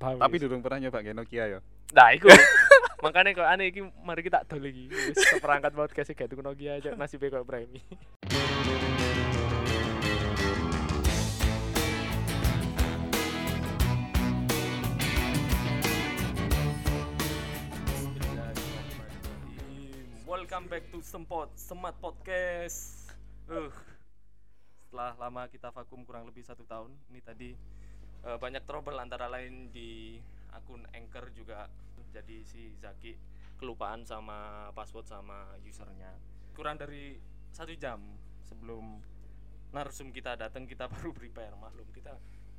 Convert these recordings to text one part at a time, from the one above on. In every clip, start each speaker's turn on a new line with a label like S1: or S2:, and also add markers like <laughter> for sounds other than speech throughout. S1: paham
S2: Tapi
S1: wis.
S2: durung pernah nyoba kayak Nokia ya.
S1: Nah, iku. Makanya kok aneh iki mari kita dol iki. Wis perangkat podcast gak tuku Nokia aja nasibnya kok premi.
S3: Welcome back to Sempot Semat Podcast. Uh, setelah lama kita vakum kurang lebih satu tahun, ini tadi eh, banyak trouble antara lain di akun Anchor juga. Jadi si Zaki kelupaan sama password sama usernya. Kurang dari satu jam sebelum narsum kita datang kita <laughs> baru prepare maklum kita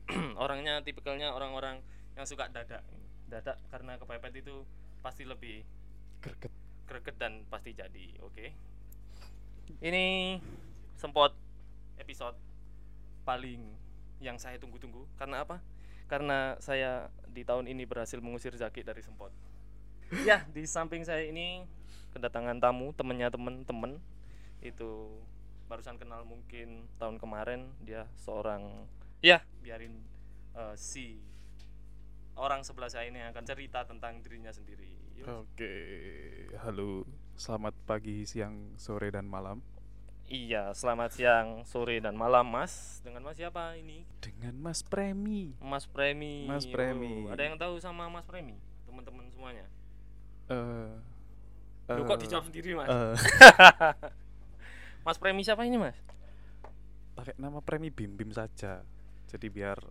S3: <clears throat> orangnya tipikalnya orang-orang yang suka dadak dadak karena kepepet itu pasti lebih
S1: Greget.
S3: greget dan pasti jadi oke ini sempot episode paling yang saya tunggu-tunggu karena apa karena saya di tahun ini berhasil mengusir Zaki dari sempot ya di samping saya ini kedatangan tamu temennya temen-temen itu barusan kenal mungkin tahun kemarin dia seorang ya biarin eh, si orang sebelah saya ini yang akan cerita tentang dirinya sendiri Yuk.
S2: Oke. Halo. Selamat pagi, siang, sore dan malam.
S3: Iya, selamat siang, sore dan malam, Mas. Dengan Mas siapa ini?
S2: Dengan Mas Premi.
S3: Mas Premi.
S2: Mas
S3: Oh,
S2: Premi.
S3: ada yang tahu sama Mas Premi? Teman-teman semuanya.
S2: Eh.
S3: Loh,
S2: eh,
S3: kok dijawab sendiri, Mas?
S2: eh,
S3: <laughs> Mas Premi siapa ini, Mas?
S2: pakai nama Premi Bim Bim saja. Jadi biar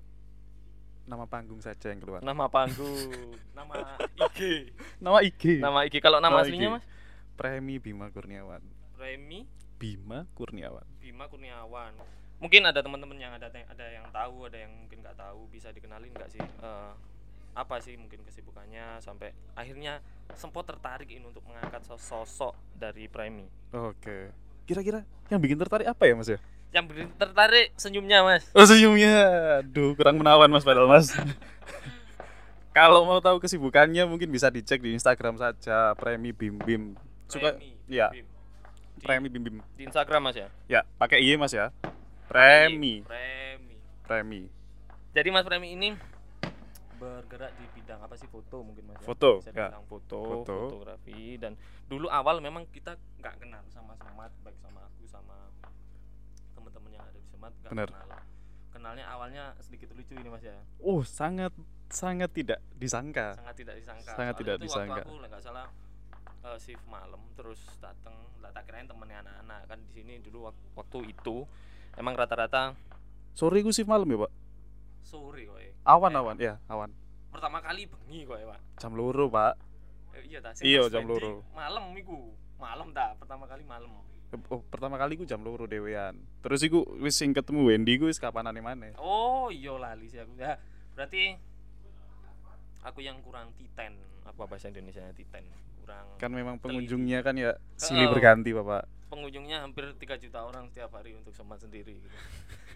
S2: nama panggung saja yang keluar.
S3: Nama
S2: <laughs>
S3: panggung, nama IG.
S2: Nama IG.
S3: Nama IG kalau nama
S2: Nama
S3: aslinya,
S2: IG.
S3: Mas?
S2: Premi Bima Kurniawan.
S3: Premi
S2: Bima Kurniawan.
S3: Bima Kurniawan. Mungkin ada teman-teman yang ada ada yang tahu, ada yang mungkin nggak tahu, bisa dikenalin nggak sih? Eh, apa sih mungkin kesibukannya sampai akhirnya sempat tertarik ini untuk mengangkat sosok dari Premi.
S2: Oke. Kira-kira yang bikin tertarik apa ya, Mas ya?
S3: Yang ber- tertarik senyumnya, Mas.
S2: Oh, senyumnya. Aduh, kurang menawan Mas padahal Mas. <laughs> Kalau mau tahu kesibukannya mungkin bisa dicek di Instagram saja Premi Bim Bim. Suka
S3: Premi,
S2: ya,
S3: Bim. Di,
S2: Premi Bim Bim.
S3: di Instagram, Mas ya. Iya,
S2: Ya, pakai I Mas ya. Premi,
S3: Premi.
S2: Premi.
S3: Jadi Mas Premi ini bergerak di bidang apa sih foto mungkin Mas? ya?
S2: Foto,
S3: Bisa
S2: ya.
S3: dibilang foto,
S2: Foto.
S3: fotografi dan dulu awal memang kita nggak kenal sama Semat baik sama aku sama teman-teman yang ada di Semat nggak
S2: Bener.
S3: kenal. Kenalnya awalnya sedikit lucu ini Mas ya.
S2: Oh, sangat sangat tidak disangka.
S3: Sangat tidak disangka.
S2: Sangat
S3: Soalnya
S2: tidak
S3: itu
S2: disangka.
S3: Waktu aku nggak salah eh, shift malam terus datang lah tak kirain temennya anak-anak kan di sini dulu wak- waktu itu emang rata-rata
S2: Sore gue shift malam ya, Pak.
S3: sore kowe.
S2: Awan-awan ya, awan.
S3: Pertama kali bengi kowe, Pak.
S2: Jam loro, Pak.
S3: Eh, iya ta.
S2: Iya,
S3: Mas
S2: jam
S3: Fendi
S2: loro.
S3: Malam iku. Malam ta, pertama kali malam.
S2: Oh, pertama kali gue jam loro dewean. Terus iku wis sing ketemu Wendy gue wis kapanane maneh.
S3: Oh, iya lali sih aku. Ya, berarti aku yang kurang titen. Apa bahasa Indonesia titen? Kurang
S2: Kan memang
S3: Teliti.
S2: pengunjungnya kan ya silih
S3: Oh.
S2: berganti, Bapak.
S3: pengunjungnya hampir 3 juta orang setiap hari untuk semat sendiri gitu. <laughs>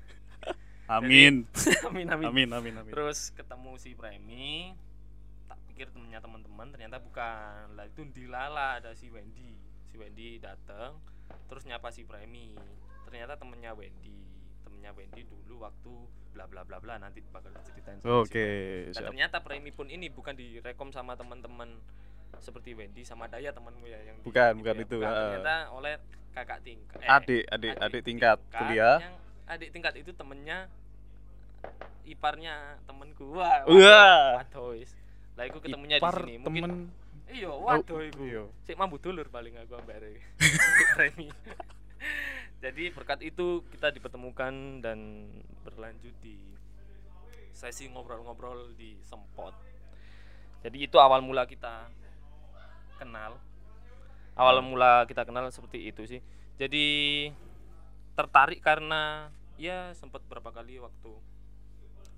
S2: Amin.
S3: amin, amin.
S2: Amin amin amin.
S3: Terus ketemu si Premi. Tak pikir temennya teman-teman, ternyata bukan. Lah itu dilala ada si Wendy. Si Wendy datang terus nyapa si Premi. Ternyata temennya Wendy. Temennya Wendy dulu waktu bla bla bla bla nanti bakal diceritain sama si
S2: Oke,
S3: Wendy. Dan
S2: siap.
S3: ternyata Premi pun ini bukan direkom sama teman-teman seperti Wendy sama Daya temanmu ya yang di-
S2: Bukan,
S3: itu
S2: bukan
S3: ya.
S2: itu,
S3: Bukan,
S2: heeh.
S3: ternyata oleh kakak tingkat. eh,
S2: Adik, adik, adik tingkat kuliah.
S3: yang adik tingkat itu temennya iparnya temenku wah
S2: Wah.
S3: waduh wis. lah iku
S2: Iya.
S3: ketemunya
S2: Ipar
S3: di sini mungkin
S2: temen
S3: iya waduh iku
S2: Iya.
S3: sik mambu dulur paling aku ambare premi jadi berkat itu kita dipertemukan dan berlanjut di sesi ngobrol-ngobrol di sempot jadi itu awal mula kita kenal awal mula kita kenal seperti itu sih jadi tertarik karena ya sempat berapa kali waktu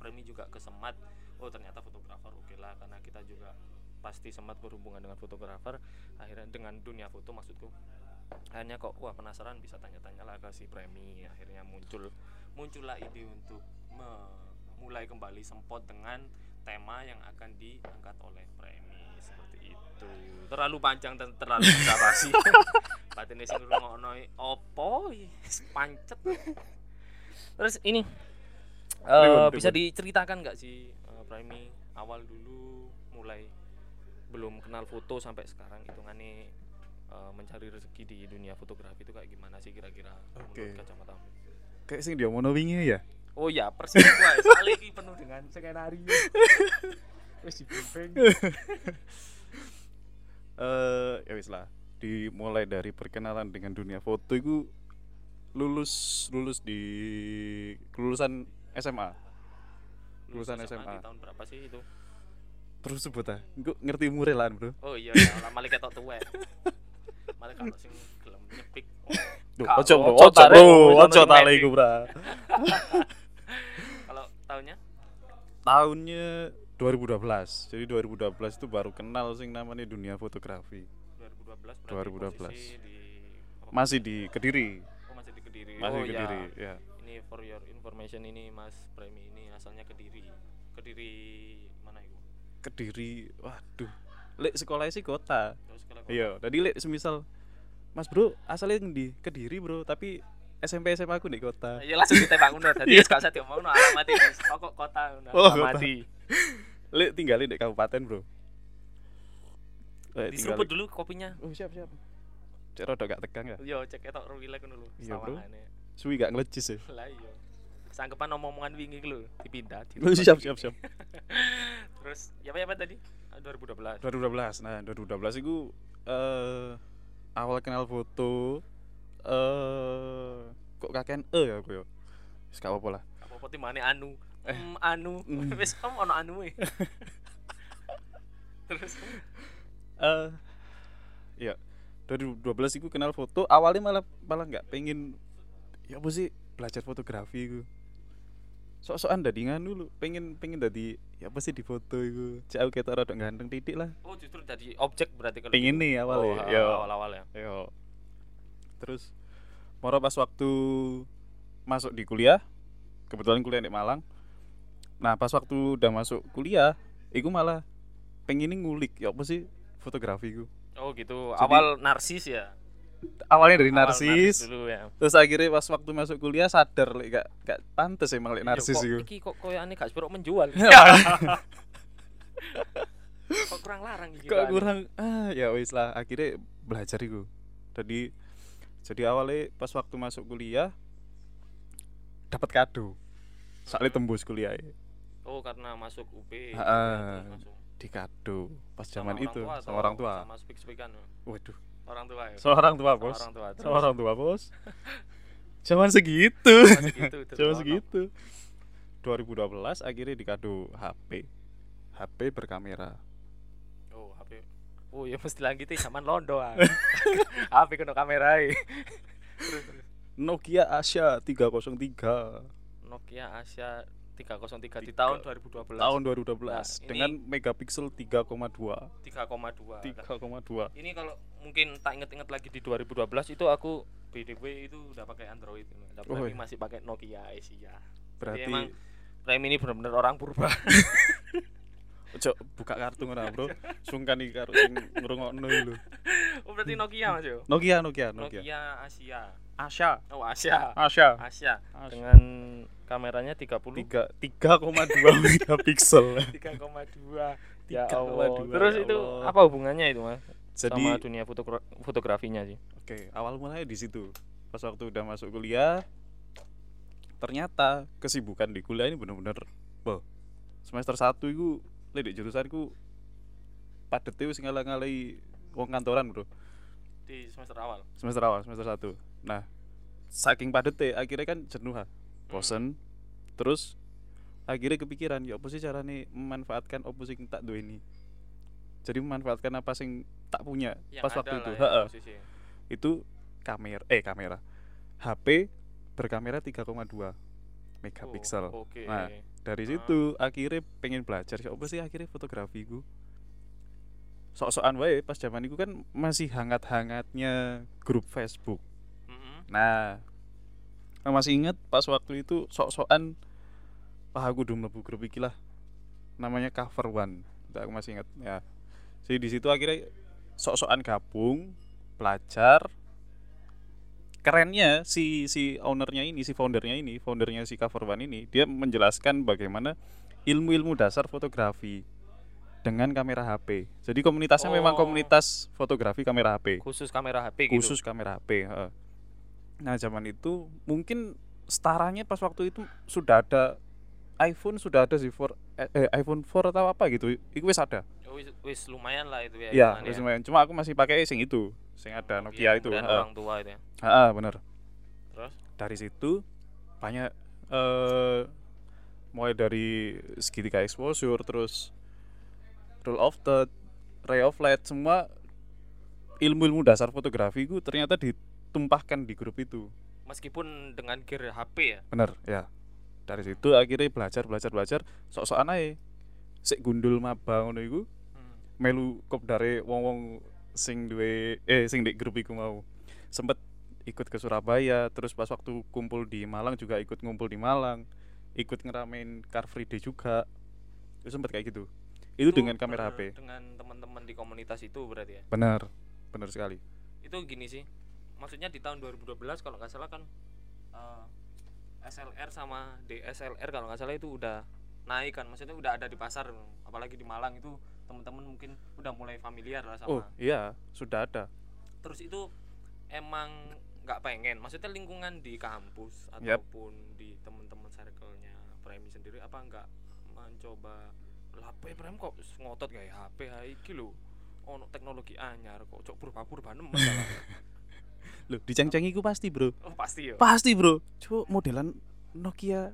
S3: premi juga ke Semat oh ternyata fotografer oke lah karena kita juga pasti Semat berhubungan dengan fotografer akhirnya dengan dunia foto maksudku akhirnya kok wah penasaran bisa tanya-tanya lah ke si premi akhirnya muncul muncullah ide untuk memulai kembali sempot dengan tema yang akan diangkat oleh premi seperti itu terlalu panjang dan terlalu basa-basi patine sing ngono opo Is pancet terus ini eh,
S2: Pripun,
S3: bisa
S2: pripun?
S3: diceritakan nggak sih eh, premi awal dulu mulai belum kenal foto sampai sekarang hitungannya eh, mencari rezeki di dunia fotografi itu kayak gimana sih kira-kira
S2: Oke.
S3: menurut kacamata
S2: Kayak sing dia mau wingi ya.
S3: Oh ya persis <laughs> wae sekali iki penuh dengan
S1: dengan <laughs> skenario wis dibimbing
S2: Eh ya wis lah. Dimulai dari perkenalan dengan dunia foto itu lulus lulus di kelulusan SMA. Lulusan SMA.
S3: di tahun berapa sih itu?
S2: Terus sebut ah. Gue ngerti murelan, Bro.
S3: Oh
S2: <laughs>
S3: iya ya, lah malah ketok tuwek. Malah kalau sing gelem nyepik. Oh.
S2: Duh,
S3: Kak,
S2: ojo,
S3: ojo,
S2: Bro. Ojo,
S3: tarik,
S2: Bro.
S3: ojo,
S2: Ojo
S3: tarik.
S2: tali iku, Bro.
S3: Kalau tahunnya
S2: Tahunnya 2012. Jadi 2012 itu baru kenal sing namanya dunia fotografi.
S3: 2012 berarti
S2: 2012.
S3: posisi di apa?
S2: Masih di Kediri,
S3: Oh, masih di Kediri.
S2: masih
S3: oh,
S2: di Kediri, ya.
S3: Ya. Ini for your information ini Mas Premi ini asalnya Kediri. Kediri mana itu?
S2: Kediri. Waduh. Lek sekolah sih kota.
S3: Terus kalau
S2: Iya, tadi lek semisal Mas Bro, asalnya di Kediri, Bro, tapi SMP SMA aku di kota.
S3: Ya langsung ditembak ngono dadi gak usah diomongno alamat itu pokok kota ngono.
S2: Iya. Oh, kota.
S1: mati
S2: Lek tinggalin di kabupaten, Bro. Lek tinggalin-
S3: Diseruput dulu kopinya.
S2: Oh, siap, siap. Cek rodok gak tegang ya.
S3: Yo cek ketok ruwile ngono lho.
S2: Iya, Bro.
S3: sawangane.
S2: Suwi gak <laughs> ngelecis ya.
S3: Lah iya. Sangkepan omong-omongan wingi iki lho
S2: Oh,
S3: dipindah. dirubah
S2: siap,
S3: dikit.
S2: siap, siap.
S3: Terus ya apa ya apa tadi? Ah, 2012.
S2: 2012. Nah, 2012 itu eh awal kenal foto eh kok kakek eh ya aku ya. Wis gak apa-apa lah.
S3: Apa apa timane anu.
S2: Eh.
S3: Mm, anu. Wis kamu ono anu
S2: <laughs>
S3: e. Terus
S2: eh ya 2012 itu kenal foto awalnya malah malah nggak pengen ya apa sih belajar fotografi itu sok-sokan dadingan dulu pengen pengen dadi ya apa sih di foto itu jauh kita rada ganteng titik lah
S3: oh justru jadi objek berarti kalau
S2: pengen Iya. nih
S3: gitu. Oh,
S2: awalnya
S3: ah,
S2: yo
S3: awal-awal ya.
S2: yo terus moro pas waktu masuk di kuliah kebetulan kuliah di Malang nah pas waktu udah masuk kuliah itu malah pengen ngulik ya apa sih fotografi itu
S3: Oh gitu.
S2: Jadi-
S3: awal narsis ya.
S2: awalnya dari
S3: Awal
S2: narsis
S3: dulu ya.
S2: terus akhirnya pas waktu masuk kuliah sadar lek gak gak pantes emang lek
S3: Iya,
S2: narsis <laughs>
S3: <laughs> kok Iya.
S2: itu
S3: Iki kok koyane gak sepuro menjual.
S2: <laughs>
S3: kok anu? kurang larang iki.
S2: kok
S3: koyoane.
S2: kurang ah ya wis lah akhirnya belajar itu jadi jadi awalnya pas waktu masuk kuliah dapat kado soalnya tembus kuliah
S3: Oh karena masuk UB.
S2: Ah,
S3: ya,
S2: ah.
S3: terus masuk.
S2: di kado pas
S3: Sama
S2: zaman
S3: orang
S2: itu
S3: tua
S2: sama
S3: atau
S2: orang tua
S3: Sama speak-speakan.
S2: waduh
S3: Orang tua ya.
S2: sama orang tua
S3: Sama
S2: bos
S3: Orang tua. gitu,
S2: sama orang tua bos zaman segitu
S3: Terus gitu, terus
S2: Cuma
S3: ono.
S2: segitu. 2012 akhirnya dikado HP. HP berkamera.
S3: Oh, HP. Oh, ya mesti lanjutnya zaman londo
S2: <laughs>
S3: ah. HP kena kamera e.
S2: Nokia Asia 303
S3: Nokia Asia 303 di
S2: Tiga-
S3: tahun 2012.
S2: tahun 2012
S3: Nah, ini-
S2: dengan megapiksel 3,2
S3: 3,2. Lah,
S2: 3,2
S3: Ini kalau mungkin tak inget-inget lagi di 2012 itu aku BDW itu udah pakai Android, tapi
S2: Oh, iya.
S3: masih pakai Nokia Asia.
S2: berarti
S3: Iya, emang Prime ini benar-benar orang purba. <laughs>
S2: ojo buka kartu ngono bro sungkan iki karo sing ngrungokno iki lho
S3: oh, berarti Nokia Mas yo.
S2: Nokia Nokia Hmm. Nokia
S3: Nokia Asia.
S2: Asia
S3: Oh, Asia.
S2: Asia
S3: Asia
S2: Asia.
S3: dengan kameranya 30
S2: tiga <laughs> 3,2 megapiksel
S3: 3,2
S2: 3,2,
S3: ya Allah.
S2: ya
S3: Terus itu
S2: Allah.
S3: apa hubungannya itu mas
S2: jadi
S3: sama dunia fotogra- fotografinya sih?
S2: Oke, awal mulanya di situ. Pas waktu udah masuk kuliah, ternyata kesibukan di kuliah ini bener-bener, boh. Semester 1 itu, lek di jurusanku padet itu sing ngalah-ngalahi wong kantoran, Bro.
S3: Di semester awal.
S2: Semester awal, semester 1. Nah, saking padete akhirnya kan jenuh, ah. bosen. Terus akhirnya kepikiran, ya apa sih carane memanfaatkan opo sing tak duweni. Jadi memanfaatkan apa sing tak punya
S3: Yang
S2: pas
S3: ada
S2: waktu
S3: lah
S2: itu.
S3: ya
S2: Heeh
S3: posisi.
S2: itu kamera eh kamera HP berkamera 3,2
S3: Oh,
S2: megapiksel
S3: Oke.
S2: Nah. dari
S3: ah.
S2: situ akhirnya pengen belajar siapa sih akhirnya fotografi ku sok-sokan wae pas zaman itu kan masih hangat-hangatnya grup Facebook
S3: Mhm.
S2: nah aku masih ingat pas waktu itu sok-sokan wah aku udah mlebu grup iki lah namanya cover one aku masih ingat ya jadi di situ akhirnya sok-sokan gabung belajar kerennya si si ownernya ini si foundernya ini foundernya si cover one ini dia menjelaskan bagaimana ilmu-ilmu dasar fotografi dengan kamera HP. Jadi komunitasnya memang
S3: Oh.
S2: komunitas fotografi kamera HP,
S3: khusus kamera HP gitu.
S2: khusus kamera HP. heeh. Nah zaman itu mungkin setaranya pas waktu itu sudah ada iPhone sudah ada sih for eh, eh, iPhone 4 atau apa gitu. Iku wis ada.
S3: Oh, wis, wis lumayan lah itu
S2: Iya,
S3: ya. hitungannya.
S2: wis lumayan. Cuma aku masih pakai sing itu, sing ada
S3: Oh,
S2: Nokia itu.
S3: kemudian
S2: Heeh,
S3: orang tua itu ya.
S2: heeh, bener.
S3: Terus
S2: dari situ banyak eh mulai dari segitiga exposure terus rule of third ray of light semua ilmu-ilmu dasar fotografi itu ternyata ditumpahkan di grup itu
S3: meskipun dengan gear HP ya.
S2: bener ya dari situ akhirnya belajar belajar belajar sok-sokan aja sik gundul maba ngono iku melu kopdare wong-wong sing duwe eh sing di grup iku mau sempet ikut ke Surabaya terus pas waktu kumpul di Malang juga ikut ngumpul di Malang ikut ngeramein Car Free Day juga itu sempet kayak gitu itu, dengan kamera
S3: ber-
S2: HP
S3: Dengan teman-teman di komunitas itu berarti ya.
S2: benar benar sekali
S3: Itu gini sih. Maksudnya di tahun 2012 kalau nggak salah kan eh, SLR sama DSLR kalau nggak salah itu udah naik kan. Maksudnya udah ada di pasar apalagi di Malang itu teman-teman mungkin udah mulai familiar lah sama.
S2: oh iya sudah ada
S3: terus itu emang nggak pengen maksudnya lingkungan di kampus
S2: Yap.
S3: ataupun di teman-teman circle-nya Premi sendiri apa nggak mencoba HP Premi kok ngotot gak ya HP ha iki lho ono teknologi anyar kok cok purba-purba
S2: <laughs>
S3: nemen lah."
S2: loh diceng-cengi iku pasti bro
S3: oh pasti ya
S2: pasti bro coba modelan Nokia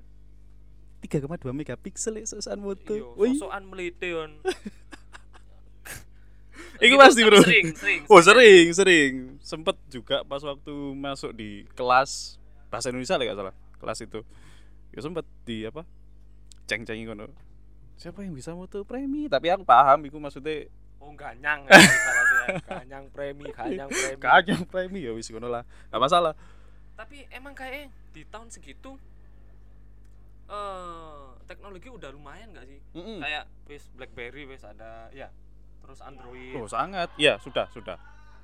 S2: 3,2 megapiksel ya sosokan
S3: iya
S2: moto Wih.
S3: sosokan meliti
S2: <laughs>
S3: on
S2: Iku
S3: Itu
S2: pasti, Bro.
S3: sering sering
S2: Oh sering sering sempet juga pas waktu masuk di kelas bahasa Indonesia lah nggak salah kelas itu ya sempet di apa ceng cengi kono siapa yang bisa moto premi tapi aku paham iku maksudnya
S3: oh ganyang ya, masalahnya. ganyang Premi ganyang Premi
S2: kagak premi ya wis kono lah nggak masalah
S3: tapi emang kayak eh, di tahun segitu eh teknologi udah lumayan gak sih
S2: Mm-mm.
S3: kayak wis BlackBerry wis ada ya terus Android
S2: oh sangat ya sudah sudah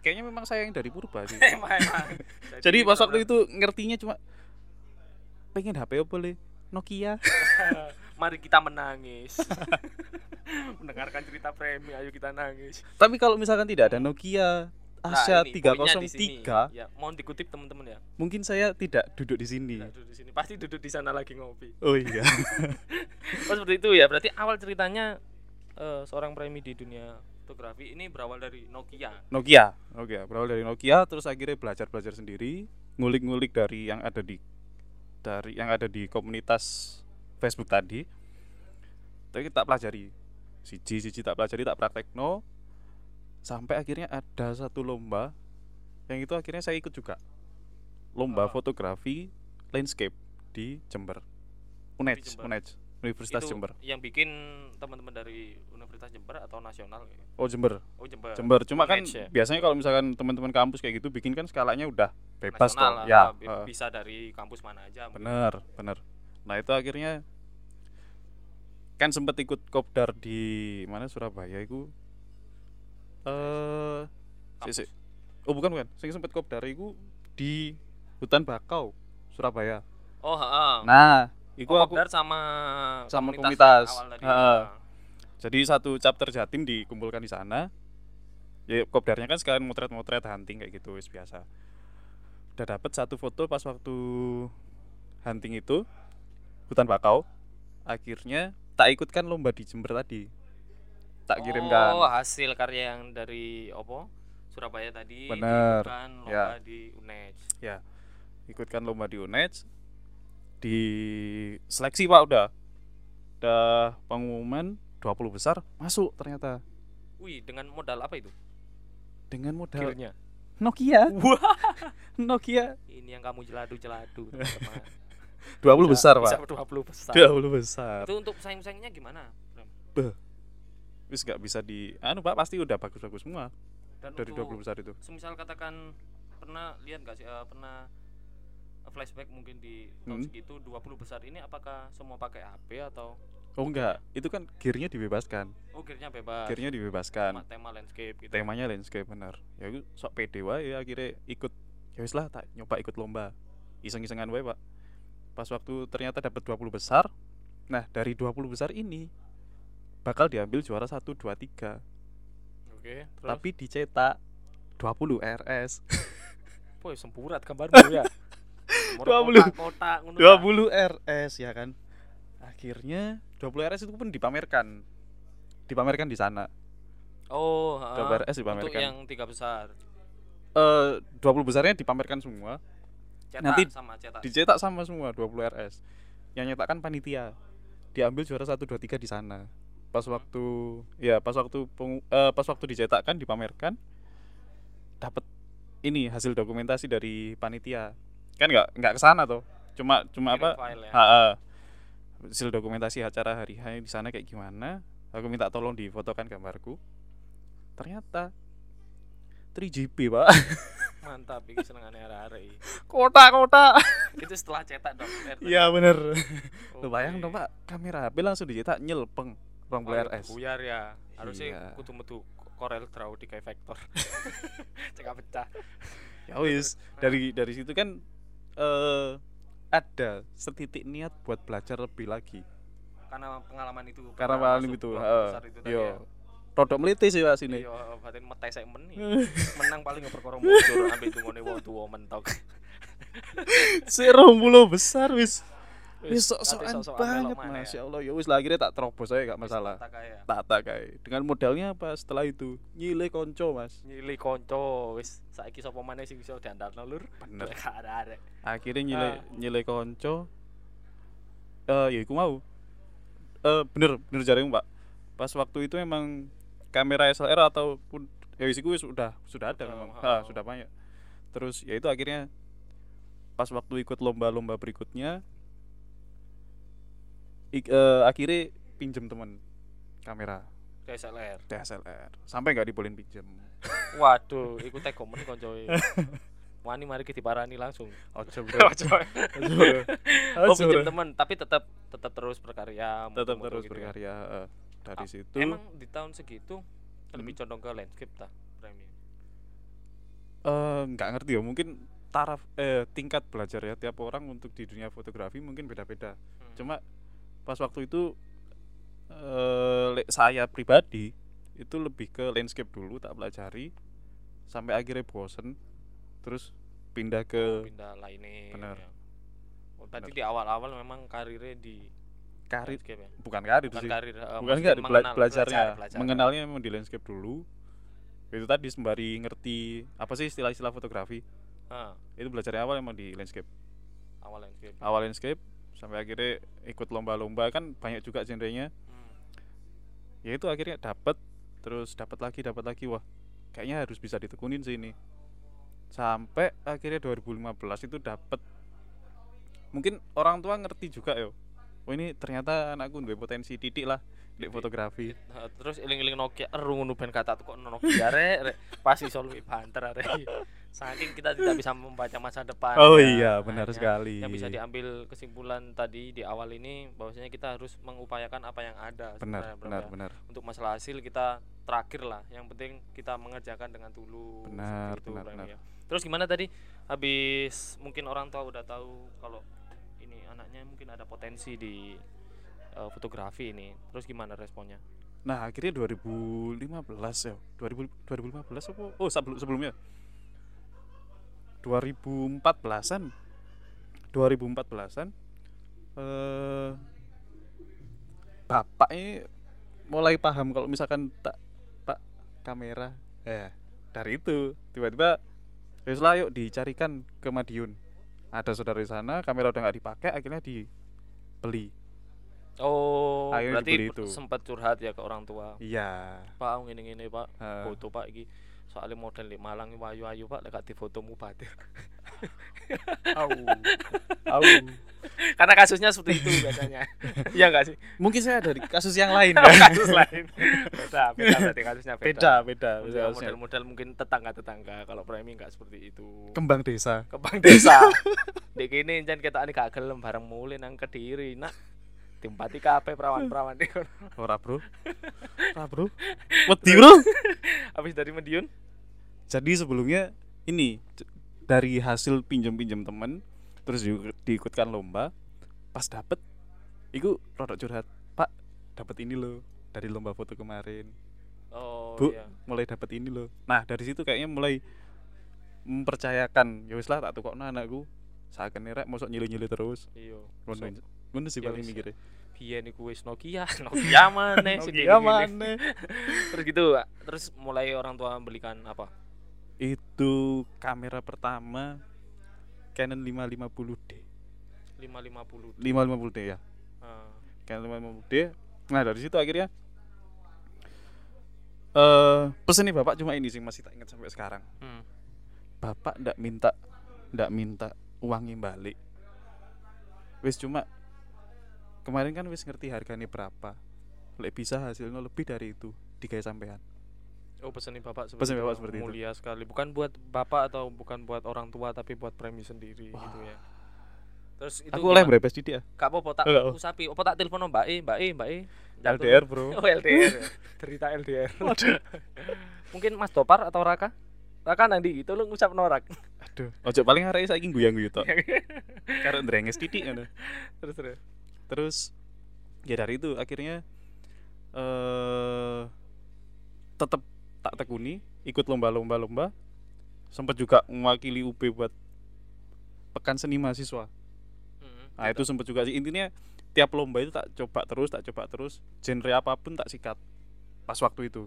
S2: kayaknya memang saya yang dari purba sih
S3: <laughs> emang
S2: <laughs>
S3: emang
S2: jadi pas waktu itu ngertinya cuma pengen HP apa le
S3: <laughs>
S2: Nokia
S3: mari kita
S2: <laughs>
S3: menangis mendengarkan cerita premi ayo kita nangis
S2: tapi kalau misalkan tidak ada Nokia
S3: Nah,
S2: Asia
S3: ini poinnya di sini.
S2: 303
S3: ya mohon dikutip teman-teman ya
S2: mungkin saya tidak duduk di sini.
S3: Nggak duduk di sini pasti duduk di sana lagi ngopi
S2: Oh iya.
S3: oh seperti itu ya berarti awal ceritanya eh, seorang premi di dunia fotografi ini berawal dari Nokia
S2: Nokia. Nokia. Berawal dari Nokia terus akhirnya belajar-belajar sendiri, ngulik-ngulik dari yang ada di dari yang ada di komunitas Facebook tadi. Tapi kita pelajari. Siji siji tak pelajari, tak praktekno sampai akhirnya ada satu lomba yang itu akhirnya saya ikut juga. Lomba
S3: Ah.
S2: fotografi landscape di Jember. UNEJ,
S3: Jember.
S2: UNEJ, Universitas
S3: itu
S2: Jember.
S3: yang bikin teman-teman dari Universitas Jember atau nasional ya?
S2: Oh, Jember.
S3: oh Jember
S2: Jember cuma kan
S3: Match ya.
S2: biasanya kalau misalkan teman-teman kampus kayak gitu bikin kan skalanya udah bebas toh
S3: nasional lah,
S2: ya
S3: bi-
S2: heeh.
S3: bisa dari kampus mana aja mungkin.
S2: bener bener nah itu akhirnya kan sempet ikut kopdar di mana Surabaya itu eh sik, sik. oh bukan bukan saya sempet kopdar itu di hutan bakau Surabaya
S3: oh heeh.
S2: nah itu
S3: Oh,
S2: aku
S3: kopdar sama
S2: sama komunitas.
S3: awal tadi.
S2: Heeh.
S3: Nah,
S2: jadi satu chapter Jatim dikumpulkan di sana ya kopdarnya kan sekalian motret-motret hunting kayak gitu wis biasa udah dapet satu foto pas waktu hunting itu hutan bakau akhirnya tak ikutkan lomba di Jember tadi tak kan.
S3: Oh,
S2: kirimkan
S3: hasil karya yang dari opo? Surabaya tadi
S2: Bener,
S3: diikutkan lomba
S2: ya.
S3: di UNED.
S2: ikutkan lomba di UNED di seleksi pak udah udah pengumuman 20 besar masuk ternyata
S3: Wih, dengan modal apa itu?
S2: dengan modal
S1: Akhirnya.
S2: Nokia <laughs> Nokia
S3: Ini yang kamu
S2: <laughs>
S3: celadu-celadu, teman-teman.
S2: 20 besar
S1: Bisa
S2: pak
S1: 20 besar.
S2: 20 besar
S3: Itu untuk saing-saingnya gimana? Bram?
S2: wis nggak bisa di anu pak pasti udah bagus-bagus semua
S3: Dan
S2: dari
S3: untuk
S2: 20 besar itu
S3: semisal katakan pernah lihat nggak sih eh, pernah flashback mungkin di tahun
S2: Hmm.
S3: segitu 20 besar ini apakah semua pakai HP atau
S2: oh enggak itu kan gearnya dibebaskan
S3: oh gearnya bebas
S2: gearnya kan.
S3: tema,
S2: dibebaskan
S3: tema landscape gitu
S2: temanya landscape bener ya aku sok pede wae ya akhirnya ikut ya wis lah tak nyoba ikut lomba iseng-isengan wae pak pas waktu ternyata dapat 20 besar Nah, dari 20 besar ini bakal diambil juara 1 2 3,
S1: Oke, terus
S2: tapi dicetak 20 RS.
S1: Woy, sempurat gambarmu ya.
S3: Nomor
S2: 20.
S3: kotak-kotak ngono kan?
S2: 20
S3: ta.
S2: RS ya kan. Akhirnya 20 RS itu pun dipamerkan. Dipamerkan di sana.
S3: Oh, ha.
S2: 20 RS
S3: Untuk
S2: dipamerkan.
S3: yang tiga besar.
S2: Eh 20 besarnya dipamerkan semua,
S3: Cetak
S2: Nanti
S3: sama cetak.
S2: dicetak sama semua 20 RS. Yang nyetakkan panitia. Diambil juara 1 2 3 di sana. Pas
S3: Hmm.
S2: waktu ya pas waktu pengu- eh, pas waktu dicetakkan dipamerkan dapat ini hasil dokumentasi dari panitia. Kan nggak nggak ke sana toh. Cuma cuma
S3: Kirim
S2: apa?
S3: file ya.
S2: Ha-ha. hasil dokumentasi acara hari hari di sana kayak gimana aku minta tolong difotokan gambarku ternyata 3GP pak <laughs>
S3: Mantap iki senengane arek-arek. iki.
S2: kota kota
S3: Itu setelah cetak dong. RT.
S2: iya bener lu
S3: Oke.
S2: bayang dong pak kamera HP langsung dicetak nyelpeng rong
S3: Oh,
S2: puluh
S3: ya,
S2: RS
S3: Buyar ya. Harusnya
S2: Iya.
S3: kudu metu Corel Draw di kayak
S2: <laughs>
S3: vektor. Cek pecah.
S2: ya wis dari dari situ kan eh ada setitik niat buat belajar lebih lagi
S3: Karena pengalaman itu.
S2: karena
S3: pernah
S2: paling
S3: masuk
S2: itu
S3: dua
S2: heeh.
S3: besar itu tadi
S2: yo
S3: ya.
S2: Iya. rodok meliti sih pak sini
S3: Iya, batin metai sek
S2: <laughs>
S3: meni. Menang paling ngeperkara mocor ambek dungone wong tuwa mentok.
S2: si rong puluh besar wis Wis
S3: tapi
S2: sok-sokan
S3: sok-sokan
S2: banget
S3: melok mana
S2: Masya
S3: ya.
S2: Allah Ya wis lah akhirnya tak terobos aja gak masalah
S3: Tak kaya.
S2: Tata kayak Dengan modalnya apa setelah itu Nyile konco mas
S3: Nyilih konco wis saiki sapa maneh sing iso diandalno lur.
S2: Bener.
S3: Lek gak arek-arek.
S2: Akhirnya nyile,
S1: Ah.
S2: nyile konco Eh ya iku mau Eh Bener bener jaring pak Pas waktu itu emang kamera SLR ataupun ya wis iku wis udah sudah ada
S3: Udah,
S2: memang Ah,
S3: ha.
S2: sudah banyak terus ya itu akhirnya pas waktu ikut lomba-lomba berikutnya ik- eh, akhirnya pinjem temen kamera
S3: DSLR.
S2: DSLR sampai nggak dibolehin pinjem
S3: Waduh, <laughs> iku teko men
S2: <laughs>
S3: koncoe. e. Wani mari kita diparani langsung.
S2: ojo bro
S3: <laughs> Ojo. Oh, pinjam teman, tapi tetap tetap terus berkarya.
S2: tetap
S3: mutu-mutu
S2: terus
S3: gitu ya.
S2: berkarya eh. dari
S3: Ah,
S2: situ
S3: Emang di tahun segitu lebih
S2: Hmm.
S3: condong ke landscape ta premium.
S2: eh, nggak ngerti ya mungkin taraf eh, tingkat belajar ya tiap orang untuk di dunia fotografi mungkin beda-beda
S3: Hmm.
S2: cuma pas waktu itu eh, lek saya pribadi itu lebih ke landscape dulu tak pelajari sampai akhirnya bosen terus pindah ke
S3: pindah lainnya.
S2: Bener.
S3: ya. Oh, tadi di awal-awal memang karirnya di
S2: karir
S3: landscape ya.
S2: bukan karir
S3: Bukan
S2: sih
S3: karir, eh,
S2: bukan
S3: maksudnya
S2: nggak bela-
S3: mengenal,
S2: belajarnya
S3: belajar.
S2: mengenalnya memang di landscape dulu itu tadi sembari ngerti apa sih istilah-istilah fotografi
S3: Heeh,
S2: itu belajarnya awal emang di landscape
S3: awal landscape.
S2: awal landscape sampai akhirnya ikut lomba-lomba kan banyak juga genrenya
S3: Hmm.
S2: ya itu akhirnya dapat terus dapat lagi dapat lagi wah kayaknya harus bisa ditekunin sih ini sampai akhirnya 2015 itu dapat mungkin orang tua ngerti juga yo oh ini ternyata anakku nduwe potensi titik lah di
S3: Titik.
S2: fotografi
S3: Heeh, eh, terus iling-iling Nokia eru ngono ben kata kok Nokia rek rek pasti iso luwih banter rek.
S2: <laughs>
S3: Saking kita tidak bisa membaca masa depan.
S2: oh
S3: ya,
S2: iya benar
S3: makanya.
S2: sekali
S3: yang bisa diambil kesimpulan tadi di awal ini bahwasanya kita harus mengupayakan apa yang ada
S2: benar
S3: sebenarnya, Bram,
S2: benar
S3: ya.
S2: benar
S3: untuk masalah hasil kita terakhir lah yang penting kita mengerjakan dengan tulus seperti
S2: Benar,
S3: itu,
S2: benar,
S3: Bram,
S2: benar.
S3: ya. terus gimana tadi habis mungkin orang tua udah tahu kalau ini anaknya mungkin ada potensi di eh, fotografi ini terus gimana responnya
S2: Nah, akhirnya 2015 ya. 2000, 2015 apa? Oh, sebelum sebelumnya. 2014-an. 2014-an eh Bapak ini mulai paham kalau misalkan tak Pak kamera. Eh, dari itu tiba-tiba wis lah yuk dicarikan ke Madiun. Ada saudara di sana, kamera udah nggak dipakai, akhirnya dibeli.
S3: oh
S2: Akhirnya dibeli itu.
S3: berarti sempat curhat ya ke orang tua
S2: Iya.
S3: pak ini ini pak
S2: Eh,
S3: foto pak iki soalnya model di Malang ini wayu-ayu pak lekat di fotomu batir
S2: au. <laughs> Au.
S3: <laughs> karena kasusnya seperti itu biasanya
S2: <laughs>
S3: iya nggak sih
S2: mungkin saya dari kasus yang <laughs> lain ya
S3: kasus lain Nah, beda beda berarti kasusnya beda,
S2: beda beda
S3: Untuk yang
S2: kasusnya.
S3: model-model mungkin tetangga tetangga kalau premi nggak seperti itu
S2: kembang desa
S3: ke bank
S1: <laughs>
S3: desa dek ini jangan kita ini gak gelem bareng mulai nang kediri nak timpati kape perawan perawan di kono. <laughs>
S2: ora bro ora bro wedi bro
S3: habis dari Medion
S2: jadi sebelumnya ini c- dari hasil pinjam pinjam temen terus di- diikutkan lomba pas dapet Iku produk curhat. Pak, dapat ini loh dari lomba foto kemarin.
S3: oh
S2: Bu,
S3: iya
S2: mulai dapat ini loh. Nah, dari situ kayaknya mulai mempercayakan. Ya wis lah tak tukokno anakku. Saken rek mosok nyilu-nyilu terus.
S1: iya
S2: Ngono
S1: So,
S2: ngono sih
S1: Ya
S2: paling
S1: wis.
S2: mikirnya.
S1: biyen iku wis Nokia <laughs> Nokia maneh sing diiling-iling.
S2: Nokia ya maneh.
S3: terus gitu terus mulai orang tua belikan apa
S2: Itu kamera pertama Canon 550D.
S3: 550
S2: 550D ya.
S3: Ah,
S2: Canon 550D. Nah, dari situ akhirnya eh pesen nih Bapak cuma ini sih masih tak ingat sampai sekarang.
S3: hmm.
S2: bapak ndak minta ndak minta uangnya balik wis cuma kemarin kan wis ngerti harganya berapa lek bisa hasilnya lebih dari itu tiga sampean
S1: oh pesenin bapak seperti itu.
S2: Pesenin bapak seperti itu.
S1: mulia sekali bukan buat bapak atau bukan buat orang tua tapi buat premi sendiri gitu ya
S3: terus itu
S2: aku oleh ya?
S3: gimana?
S2: berapa dia
S3: gak apa-apa tak
S2: Halo.
S3: usapi apa tak telepon mbak e mbak e mbak e Jatuh.
S2: LDR bro
S3: <laughs> oh LDR
S1: cerita LDR
S3: mungkin Mas Dopar atau Raka Raka nanti gitu lu ngusap norak
S2: aduh ojo paling hari saya guyang guyu
S3: <laughs>
S2: tok karena ndrenges titik ngono.
S1: terus terus
S2: terus ya dari itu akhirnya eh tetap tak tekuni ikut lomba-lomba lomba sempat juga mewakili UB buat pekan seni mahasiswa
S3: Hmm,
S2: Nah itu sempet juga sih intinya tiap lomba itu tak coba terus, tak coba terus, genre apapun tak sikat pas waktu itu.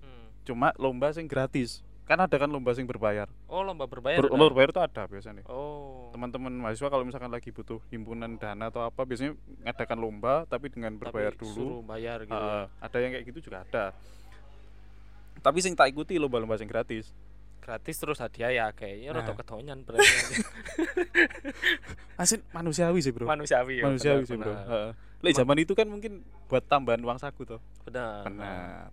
S3: Hmm.
S2: Cuma lomba sing gratis. Kan ada kan lomba sing berbayar.
S3: oh lomba berbayar
S2: Ber-
S3: ada?
S2: lomba berbayar itu ada biasanya.
S3: oh
S2: Teman-teman mahasiswa kalau misalkan lagi butuh himpunan dana atau apa biasanya ngadakan lomba tapi dengan berbayar
S3: Tapi
S2: dulu.
S3: suruh bayar gitu ya.
S2: Ah, ada yang kayak gitu juga ada. Tapi sing tak ikuti lomba-lomba sing gratis.
S3: gratis terus hadiah ya kayaknya
S2: Nah.
S3: rotok ketonyan
S2: <laughs>
S3: berarti
S2: Asin Ah, manusiawi sih, Bro.
S1: manusiawi ya
S2: manusiawi
S1: benar,
S2: sih, Bro.
S1: benar.
S2: Heeh. Iya, Lek zaman itu kan mungkin buat tambahan uang saku toh.
S3: benar
S2: Benar.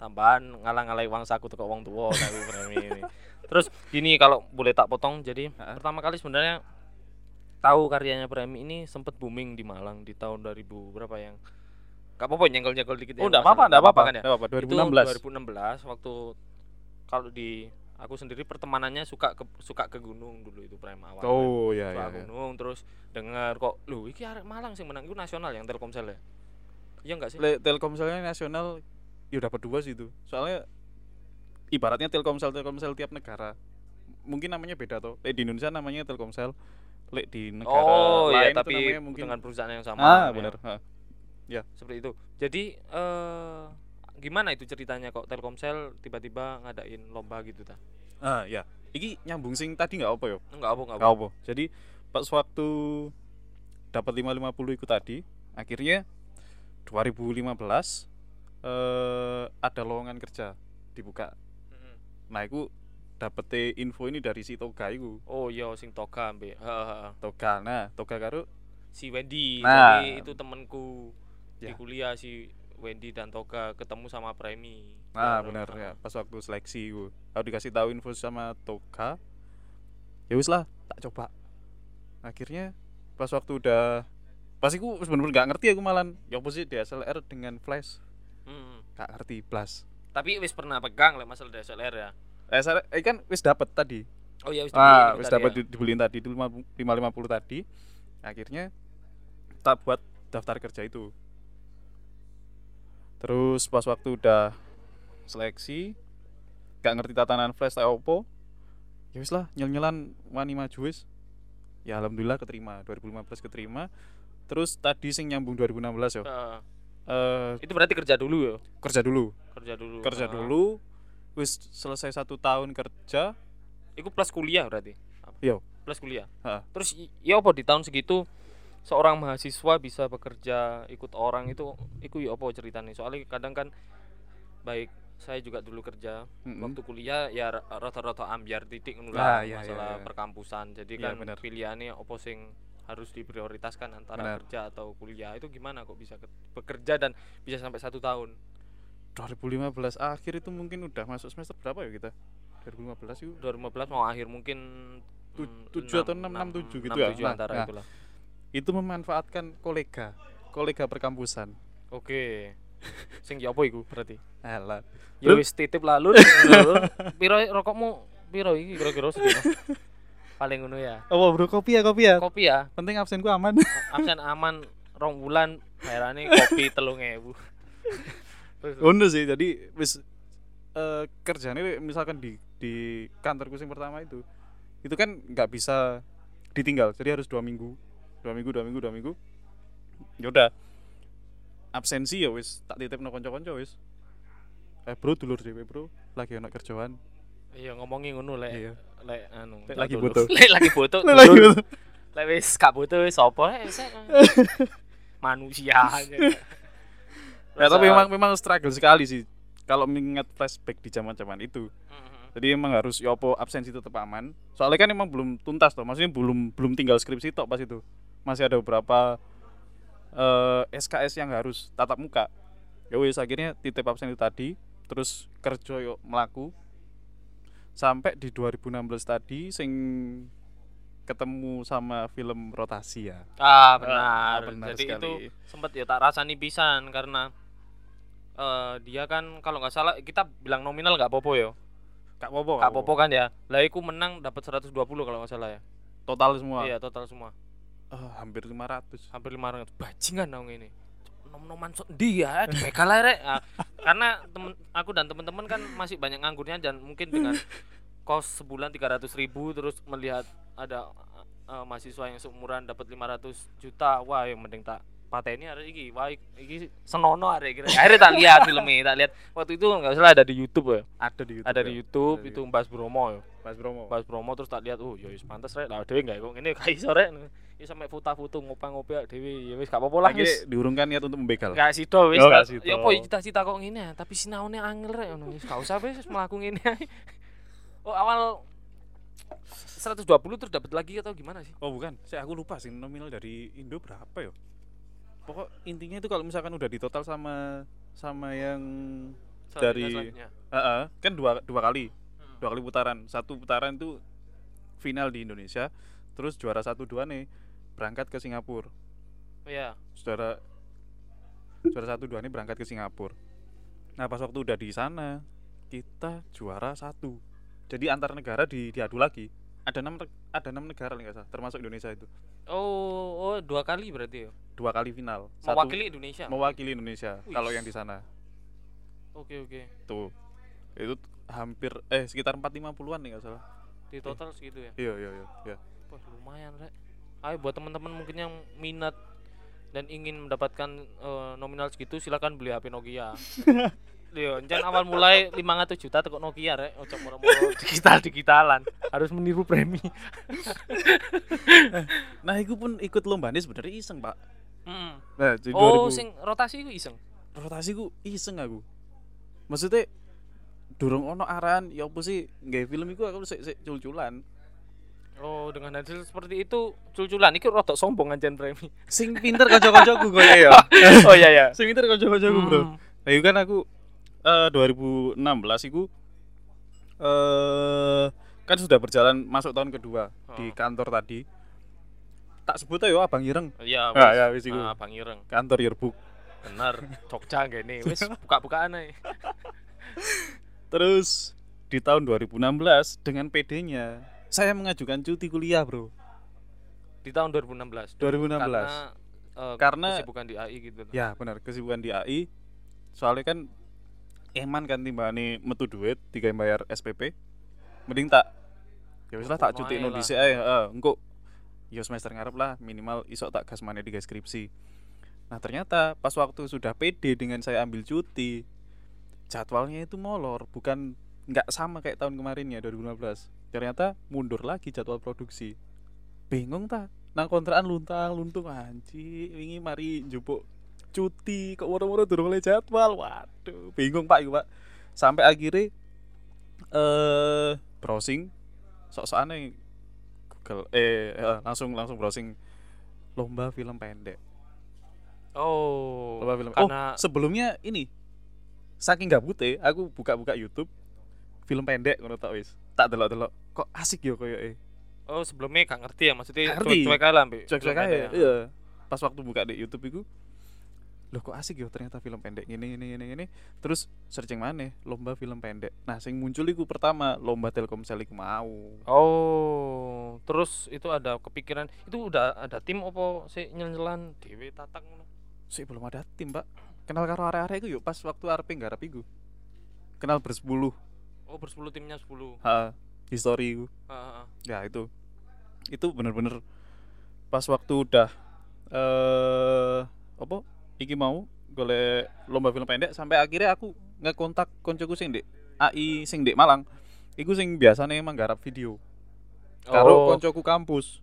S3: tambahan ngalang-ngalai uang saku tuh wong tua tapi premi ini terus gini kalau boleh tak potong jadi
S2: Ha-ha.
S3: pertama kali sebenarnya tahu karyanya premi ini sempat booming di Malang di tahun 2000 berapa yang Gak apa-apa nyenggol-nyenggol dikit ya,
S2: Oh, enggak
S3: masalah.
S2: apa-apa, enggak apa-apa.
S3: kan ya
S2: Enggak apa-apa.
S3: Itu
S2: 2016.
S3: 2016 waktu kalau di aku sendiri pertemanannya suka ke suka ke gunung dulu itu prime awal.
S2: Oh, ya
S3: Suka
S2: ya.
S3: ke gunung terus denger kok lu iki arek Malang sing menang itu nasional yang Telkomsel ya. Iya enggak sih?
S2: Le, Telkomselnya nasional ya dapat dua sih itu. Soalnya ibaratnya Telkomsel Telkomsel tiap negara mungkin namanya beda toh. Lek di Indonesia namanya Telkomsel, lek di negara
S3: oh
S2: lain
S3: iya
S2: itu
S3: tapi
S2: namanya mungkin
S3: dengan perusahaan yang sama.
S2: Ah,
S3: ya.
S2: benar. Heeh.
S3: Seperti itu. Jadi eh gimana itu ceritanya kok Telkomsel tiba-tiba ngadain lomba gitu ta?
S2: Ah, ya. Iki nyambung sing tadi nggak apa ya?
S3: Enggak apa enggak apa.
S2: Nggak apa. Jadi pas waktu dapat 550 itu tadi, akhirnya 2015 eh ada lowongan kerja dibuka
S3: Mm-mm.
S2: Nah, aku dapete info ini dari si Toga iku.
S3: Oh iya sing toga ambek. Ha, ha, ha.
S2: Toga. Nah, Toga karo
S3: si Wendy
S2: Nah.
S3: jadi itu temanku di
S2: Ya.
S3: kuliah si Wendy dan Toga ketemu sama Premi
S2: Nah,
S3: Bareng.
S2: bener ya,
S3: Ah,
S2: pas waktu seleksi iku. Aku dikasih tahu info sama Toga. Ya wis lah, tak coba. Akhirnya pas waktu udah pas aku bener-bener gak ngerti aku malan. Ya apa sih DSLR dengan flash?
S3: mm.
S2: Gak ngerti plus.
S3: tapi wis pernah pegang lah masalah DSLR ya
S2: DSLR eh kan wis dapet tadi.
S3: oh iya wis
S2: Ah,
S3: dibeliin
S2: wis
S3: tadi
S2: dapat
S3: ya.
S2: di- dibeliin tadi itu 550 tadi. Akhirnya tak buat daftar kerja itu. Terus pas waktu udah seleksi gak ngerti tatanan flash tak opo. Ya wis lah, nyel-nyelan wani maju wis. Ya alhamdulillah keterima, 2015 keterima. Terus tadi sing nyambung 2016 ya.
S3: Ah,
S2: Eh
S3: itu berarti kerja dulu ya
S2: kerja dulu,
S3: kerja dulu
S2: kerja
S3: Ah.
S2: dulu. Wis selesai satu tahun kerja,
S3: itu plus kuliah berarti Apa?
S2: Iya.
S3: plus kuliah
S2: Ha.
S3: terus i- ya apa di tahun segitu seorang mahasiswa bisa bekerja ikut orang itu itu ya apa ceritanya soalnya kadang kan baik saya juga dulu kerja
S2: Mm-mm.
S3: waktu kuliah ya ra- rata-rata ambiar titik
S2: Ah,
S3: ngono lah
S2: Hmm. iya, iya,
S3: masalah
S2: iya.
S3: perkampusan jadi
S2: Iya,
S3: kan
S2: bener.
S3: pilihannya opo sing harus diprioritaskan antara
S2: Bener.
S3: kerja atau kuliah itu gimana kok bisa ke- bekerja dan bisa sampai satu tahun
S2: 2015 akhir itu mungkin udah masuk semester berapa ya kita? 2015 itu
S3: 2015 mau akhir mungkin
S2: Tu-
S3: mm,
S2: tujuh atau
S3: enam-
S2: enam- enam
S3: enam-
S2: tujuh gitu
S3: enam
S2: ya?
S3: tujuh
S2: Nah,
S3: antara
S2: nah.
S3: itulah
S2: itu memanfaatkan kolega kolega perkampusan
S3: oke
S2: <laughs>
S3: sing ya apa iku berarti
S2: alah
S3: ya
S2: Lu-
S3: wis titip lah lur piro rokokmu piro iki kira-kira sedina paling ngono ya
S2: oh bro kopi ya kopi ya
S3: kopi ya
S2: penting absenku aman <laughs>
S3: absen aman rong wulan bayarane kopi 3000. Terus,
S2: Ngono sih jadi wis eh kerjanya kayak misalkan di di kantorku yang pertama itu itu kan nggak bisa ditinggal jadi harus dua minggu dua minggu dua minggu dua minggu yaudah absensi ya wis tak titip no konco konco wis eh bro dulur dhewe bro lagi anak kerjaan
S3: Iya ngomongi ngono lek
S2: Iya.
S3: lek anu.
S2: Lek lagi
S3: dulur.
S2: butuh.
S3: Lek lagi butuh.
S2: Lek lagi
S3: dulur.
S2: butuh.
S3: Lek wis gak butuh wis apa lek
S2: <laughs>
S3: wis, eh, manusia aja.
S2: ya tapi memang memang struggle sekali sih kalau mengingat flashback di zaman zaman itu jadi emang harus ya apa absensi tetap aman soalnya kan emang belum tuntas toh maksudnya belum belum tinggal skripsi tok pas itu masih ada beberapa eh, SKS yang harus tatap muka ya wis akhirnya titip absen itu tadi terus kerja yuk melaku sampai di 2016 tadi sing ketemu sama film rotasi ya
S3: Ah benar.
S2: Ah, benar
S3: Jadi itu
S2: sekali.
S3: sempet ya tak rasani pisan karena eh dia kan kalau nggak salah kita bilang nominal nggak popo yo.
S2: Kak Popo
S3: Nggak popo kan ya. Lah iku menang dapat 120 kalau nggak salah ya.
S2: total semua
S3: Iya total semua.
S2: Ah, hampir 500
S3: Hampir 500. Bajingan dong ini. Nom-noman sok dia di begal ae, rek. Ah, karena temen aku dan teman-teman kan masih banyak nganggurnya dan mungkin dengan kos sebulan 300 ribu terus melihat ada eh, mahasiswa yang seumuran dapat 500 juta wah yang mending tak pateni hari iki wah ik- iki senono hari kira akhirnya tak lihat filmnya tak lihat waktu itu nggak salah ada di YouTube ya
S2: ada di YouTube
S3: ada di
S2: ya?
S3: YouTube
S2: Ada di
S3: itu Mbak Bromo ya
S2: Mas Bromo
S3: pas promo terus tak lihat oh ya wis pantes rek lah dhewe enggak kok ngene gak iso rek ya sampe futa-futu ngopi-ngopi ya dhewe ya wis gak apa-apa lah
S2: akhirnya
S3: wis
S2: diurungkan niat untuk membegal
S3: gak sido wis
S2: Oh, gak sido.
S3: ya apa ya cita-cita kok ngene tapi sinaune angel rek ngono wis gak usah wis mlaku ngene ae. oh awal 120 terus dapat lagi atau gimana sih
S2: Oh bukan, saya aku lupa sih nominal dari Indo berapa ya. Pokok intinya itu kalau misalkan udah di total sama sama yang Dari-
S3: Selanjutnya, selanjutnya.
S2: Heeh, kan dua dua kali,
S3: Hmm.
S2: dua kali putaran. Satu putaran itu final di Indonesia, terus juara satu dua nih berangkat ke Singapura.
S3: Oh, iya
S2: Juara juara satu dua nih berangkat ke Singapura. Nah pas waktu udah di sana kita juara satu. Jadi antar negara di diadu lagi. Ada enam neg- ada enam negara nih nggak salah, termasuk Indonesia itu
S3: oh oh dua kali berarti ya
S2: dua kali final. Satu-
S3: mewakili Indonesia
S2: mewakili ya? Indonesia
S3: Wih.
S2: kalau yang di sana
S3: oke oke
S2: tuh itu hampir eh sekitar 450-an nih nggak salah
S3: di total segitu ya
S2: iya iya iya iya.
S3: Wah lumayan rek. Ayo buat teman-teman mungkin yang minat dan ingin mendapatkan eh, nominal segitu silakan beli HP Nokia. Iya, jangan awal mulai 500 juta tekok Nokia rek, ojo <laughs> moro-moro digital-digitalan.
S1: harus meniru premi
S2: nah itu pun ikut lomba ini sebenarnya iseng pak
S3: Mm.
S2: nah jadi
S3: Oh,
S2: 2000
S3: sing rotasi iku iseng.
S2: rotasi ku iseng aku maksudnya durung ono arahan ya apa sih nggak film itu aku sik sik cul-culan
S3: Oh, dengan hasil seperti itu cul-culan iki rodok sombong anjen premi.
S2: sing pinter kanca-kancaku gue ya
S1: <laughs> oh iya ya
S2: sing pinter kanca-kancaku bro
S3: Hmm.
S2: Nah, itu kan aku eh 2016 itu eh kan sudah berjalan masuk tahun kedua
S1: Oh.
S2: di kantor tadi. Tak sebut aja Abang Ireng.
S3: Iya,
S2: Ah, ya, wis iku.
S3: Ah, Bang Ireng.
S2: Kantor yearbook.
S3: Bener, Jogja gini, wis buka-bukaan ae.
S2: Terus di tahun 2016 dengan PD-nya saya mengajukan cuti kuliah, Bro.
S3: Di tahun
S2: 2016.
S3: 2016. Karena eh,
S2: Karena-
S3: kesibukan di AI gitu. loh.
S2: Ya, benar, kesibukan di AI. Soalnya kan eman kan timbane metu duit tiga bayar SPP. Mending tak ya wis lah tak
S3: Pokoknya
S2: cuti no
S3: lah.
S2: dhisik ae, heeh. Engko ya semester ngarep lah minimal isok tak gas maneh tiga skripsi. Nah, ternyata pas waktu sudah PD dengan saya ambil cuti, jadwalnya itu molor, bukan nggak sama kayak tahun kemarin ya 2015. Ternyata mundur lagi jadwal produksi. Bingung ta? Nang kontrakan luntang luntung anji, wingi mari njupuk cuti kok moro-moro durung oleh jadwal. Waduh, bingung Pak iku, Pak. Sampai akhirnya eh browsing sok-sokan nih Google eh eh, langsung langsung browsing lomba film pendek.
S3: Oh.
S2: Lomba film.
S3: Karena
S2: Oh, sebelumnya ini saking gabute aku buka-buka YouTube film pendek ngono tok wis. Tak delok-delok. Kok asik yo koyoke.
S3: Oh sebelumnya gak ngerti ya maksudnya
S2: Gak ngerti. ya. iya.
S3: cuek-cuek aja lah Mbak.
S2: Cuek-cuek
S3: Belum ada
S2: aja.
S3: ya.
S2: Iya. Pas waktu buka di YouTube iku loh kok asik ya ternyata film pendek ini ini ini ini terus searching mana lomba film pendek nah sing muncul iku pertama lomba telkomsel iku mau
S3: Oh, terus itu ada kepikiran itu udah ada tim opo sih nyelan dewe tatak ngono.
S2: sih belum ada tim pak kenal karo area-area iku yuk pas waktu arep nggarap iku kenal bersepuluh
S3: Oh, bersepuluh timnya 10.
S2: ha history iku
S3: Heeh.
S2: ya itu itu bener-bener pas waktu udah eh apa iki mau golek lomba film pendek sampai akhirnya aku ngekontak koncoku sing dek AI sing dek Malang iku sing biasanya menggarap video karo
S3: Oh,
S2: koncoku kampus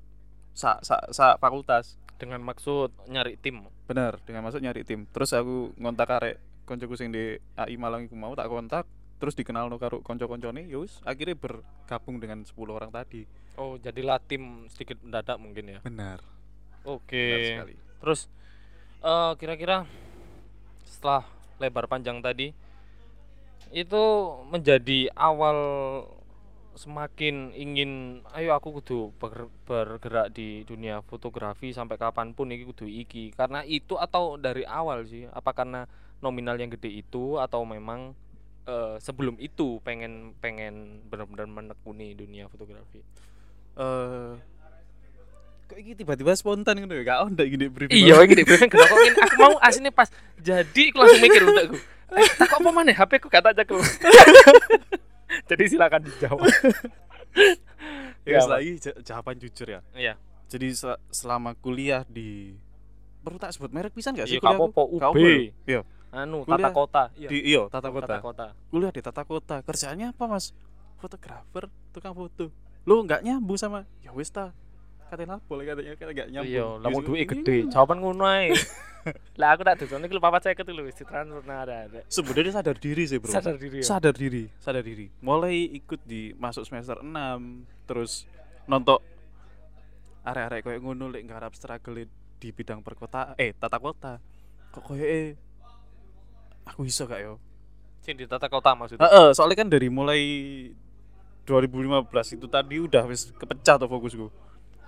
S2: sa sa sa fakultas
S3: dengan maksud nyari tim.
S2: bener dengan maksud nyari tim terus aku ngontak arek koncoku sing di AI Malang iku mau tak kontak terus dikenal no karo konco-koncone yus akhirnya bergabung dengan 10 orang tadi
S3: Oh, jadilah tim sedikit mendadak mungkin ya.
S2: benar benar
S3: Oke.
S2: sekali
S3: Terus eh, kira-kira setelah lebar panjang tadi itu menjadi awal semakin ingin ayo aku kudu ber- bergerak di dunia fotografi sampai kapanpun ini kudu iki karena itu atau dari awal sih apa karena nominal yang gede itu atau memang eh, sebelum itu pengen pengen benar-benar menekuni dunia fotografi
S2: eh kok ini tiba-tiba spontan gitu ya gak ada gini briefing
S3: Iya, iki dek bilang <laughs> kenapa ini aku mau asine pas jadi aku langsung mikir untukku. Eh, tak kok apa mana HP ku kata aja ku.
S1: Jadi silakan <laughs> dijawab.
S2: ya,
S1: Iya, Pak.
S2: lagi ja- jawaban jujur ya
S3: Iya.
S2: jadi se- selama kuliah di perlu tak sebut merek pisan gak sih
S3: Iya, gak
S2: kuliahku?
S3: apa-apa,
S2: Gak
S3: UB.
S2: apa-apa. iya
S3: Anu,
S2: Kuliah
S3: tata kota. Iya.
S2: di iyo tata kota.
S3: Tata kota.
S2: kuliah di tata kota kerjaannya apa mas fotografer tukang foto lu nggak nyambung sama ya wis ta katanya apa lah, katanya katanya nggak nyambung
S1: Iya, lah mau
S2: Justru-
S1: duit gede. Jawaban ngono ae. Lah aku tak dudukne iki lho 450 lho wis ditransfer nah ada. ada.
S2: sebenarnya sadar diri sih bro
S1: Sadar diri ya.
S2: sadar diri sadar diri mulai ikut di masuk semester 6 terus nonton arek-arek koyo ngono lek nggarap struggle di bidang perkota eh tata kota kok koyo eh aku iso gak yo
S3: Sing di tata kota maksudnya.
S2: heeh soalnya kan dari mulai 2015 itu tadi udah wis kepecah tuh fokusku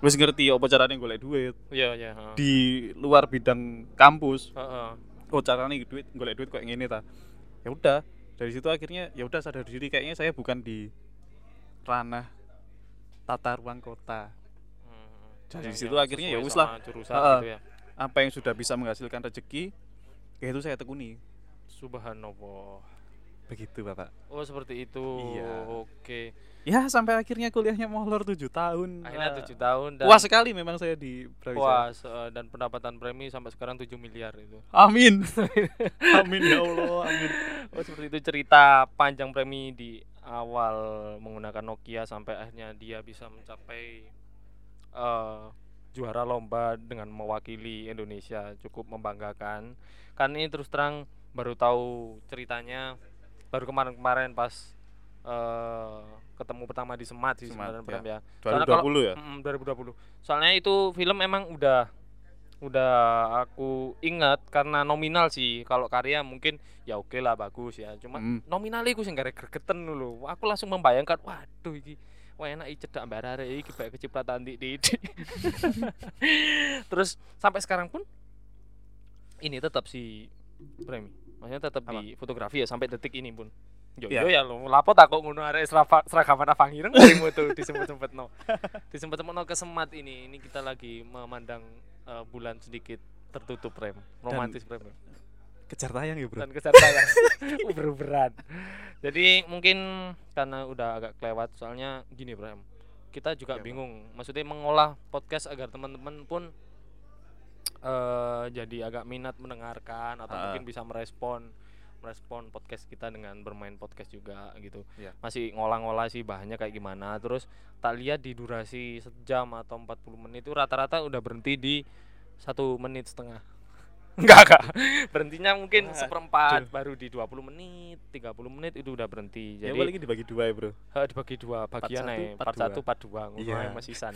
S2: wis ngerti apa caranya golek duit
S3: Iya, iya, heeh.
S2: di luar bidang kampus
S3: Heeh. Hmm,
S2: oh caranya duit golek duit kayak gini ta ya udah dari situ akhirnya ya udah sadar diri kayaknya saya bukan di ranah tata ruang kota
S3: Hmm.
S2: Dari
S3: Yang-
S2: situ
S3: yang
S2: akhirnya
S3: sesuai
S2: ya wis lah.
S3: sama Jurusan
S2: Heeh.
S3: gitu ya.
S2: apa yang sudah bisa menghasilkan rezeki ya itu saya tekuni
S3: Subhanallah.
S2: begitu bapak
S3: Oh, seperti itu.
S2: Iya.
S3: Oke.
S2: ya sampai akhirnya kuliahnya molor 7 tahun
S3: Akhirnya
S2: Wah.
S3: 7 tahun dan
S2: puas sekali memang saya di Brawijaya.
S3: puas, eh, dan pendapatan premi sampai sekarang 7 miliar itu.
S2: amin <laughs> amin ya allah amin
S3: Oh seperti itu cerita panjang premi di awal menggunakan Nokia sampai akhirnya dia bisa mencapai eh, juara lomba dengan mewakili Indonesia cukup membanggakan. Kan ini terus terang baru tahu ceritanya baru kemarin-kemarin pas eh, ketemu pertama di Semat sih
S2: Semat,
S3: sebenarnya
S2: ya.
S3: Bram, ya.
S2: 2020
S3: Soalnya kalau-
S2: ya
S3: Mm, 2020. Soalnya itu film emang udah udah aku ingat karena nominal sih. Kalau karya mungkin ya oke lah bagus ya. Cuma
S2: Mm.
S3: nominalnya aku sing garek gregeten lho. Aku langsung membayangkan waduh iki wah enak iki cedak mbak Rare iki baik kecipratan di di. di." <laughs> Terus sampai sekarang pun ini tetap si premi. Maksudnya tetap
S2: Apa?
S3: di fotografi ya sampai detik ini pun. Yo
S2: Ya.
S3: yo ya lo lapo tak kok ngono arek serapa- seragaman apa ireng kelimu tuh disempet-sempetno. Disempet-sempetno ke Semat ini. Ini kita lagi memandang eh, bulan sedikit tertutup rem romantis rem
S2: kejar tayang ya bro
S3: dan kejar
S2: <laughs>
S3: tayang uber-uberan Oh, jadi mungkin karena udah agak kelewat soalnya gini Bram kita juga
S2: Iya, Pak.
S3: bingung maksudnya mengolah podcast agar teman-teman pun eh jadi agak minat mendengarkan atau
S2: Ah.
S3: mungkin bisa merespon merespon podcast kita dengan bermain podcast juga gitu
S2: Iya.
S3: masih ngolah-ngolah sih bahannya kayak gimana terus tak lihat di durasi sejam atau 40 menit itu rata-rata udah berhenti di satu menit setengah <laughs> enggak enggak berhentinya mungkin
S2: Wah,
S3: seperempat baru di 20 menit 30 menit itu udah berhenti
S2: ya
S3: jadi
S2: paling dibagi dua ya bro
S3: eh, dibagi dua bagian
S2: satu,
S3: aja
S2: part
S3: part
S2: dua.
S3: satu part dua ngono
S2: Iya.
S3: ae masih san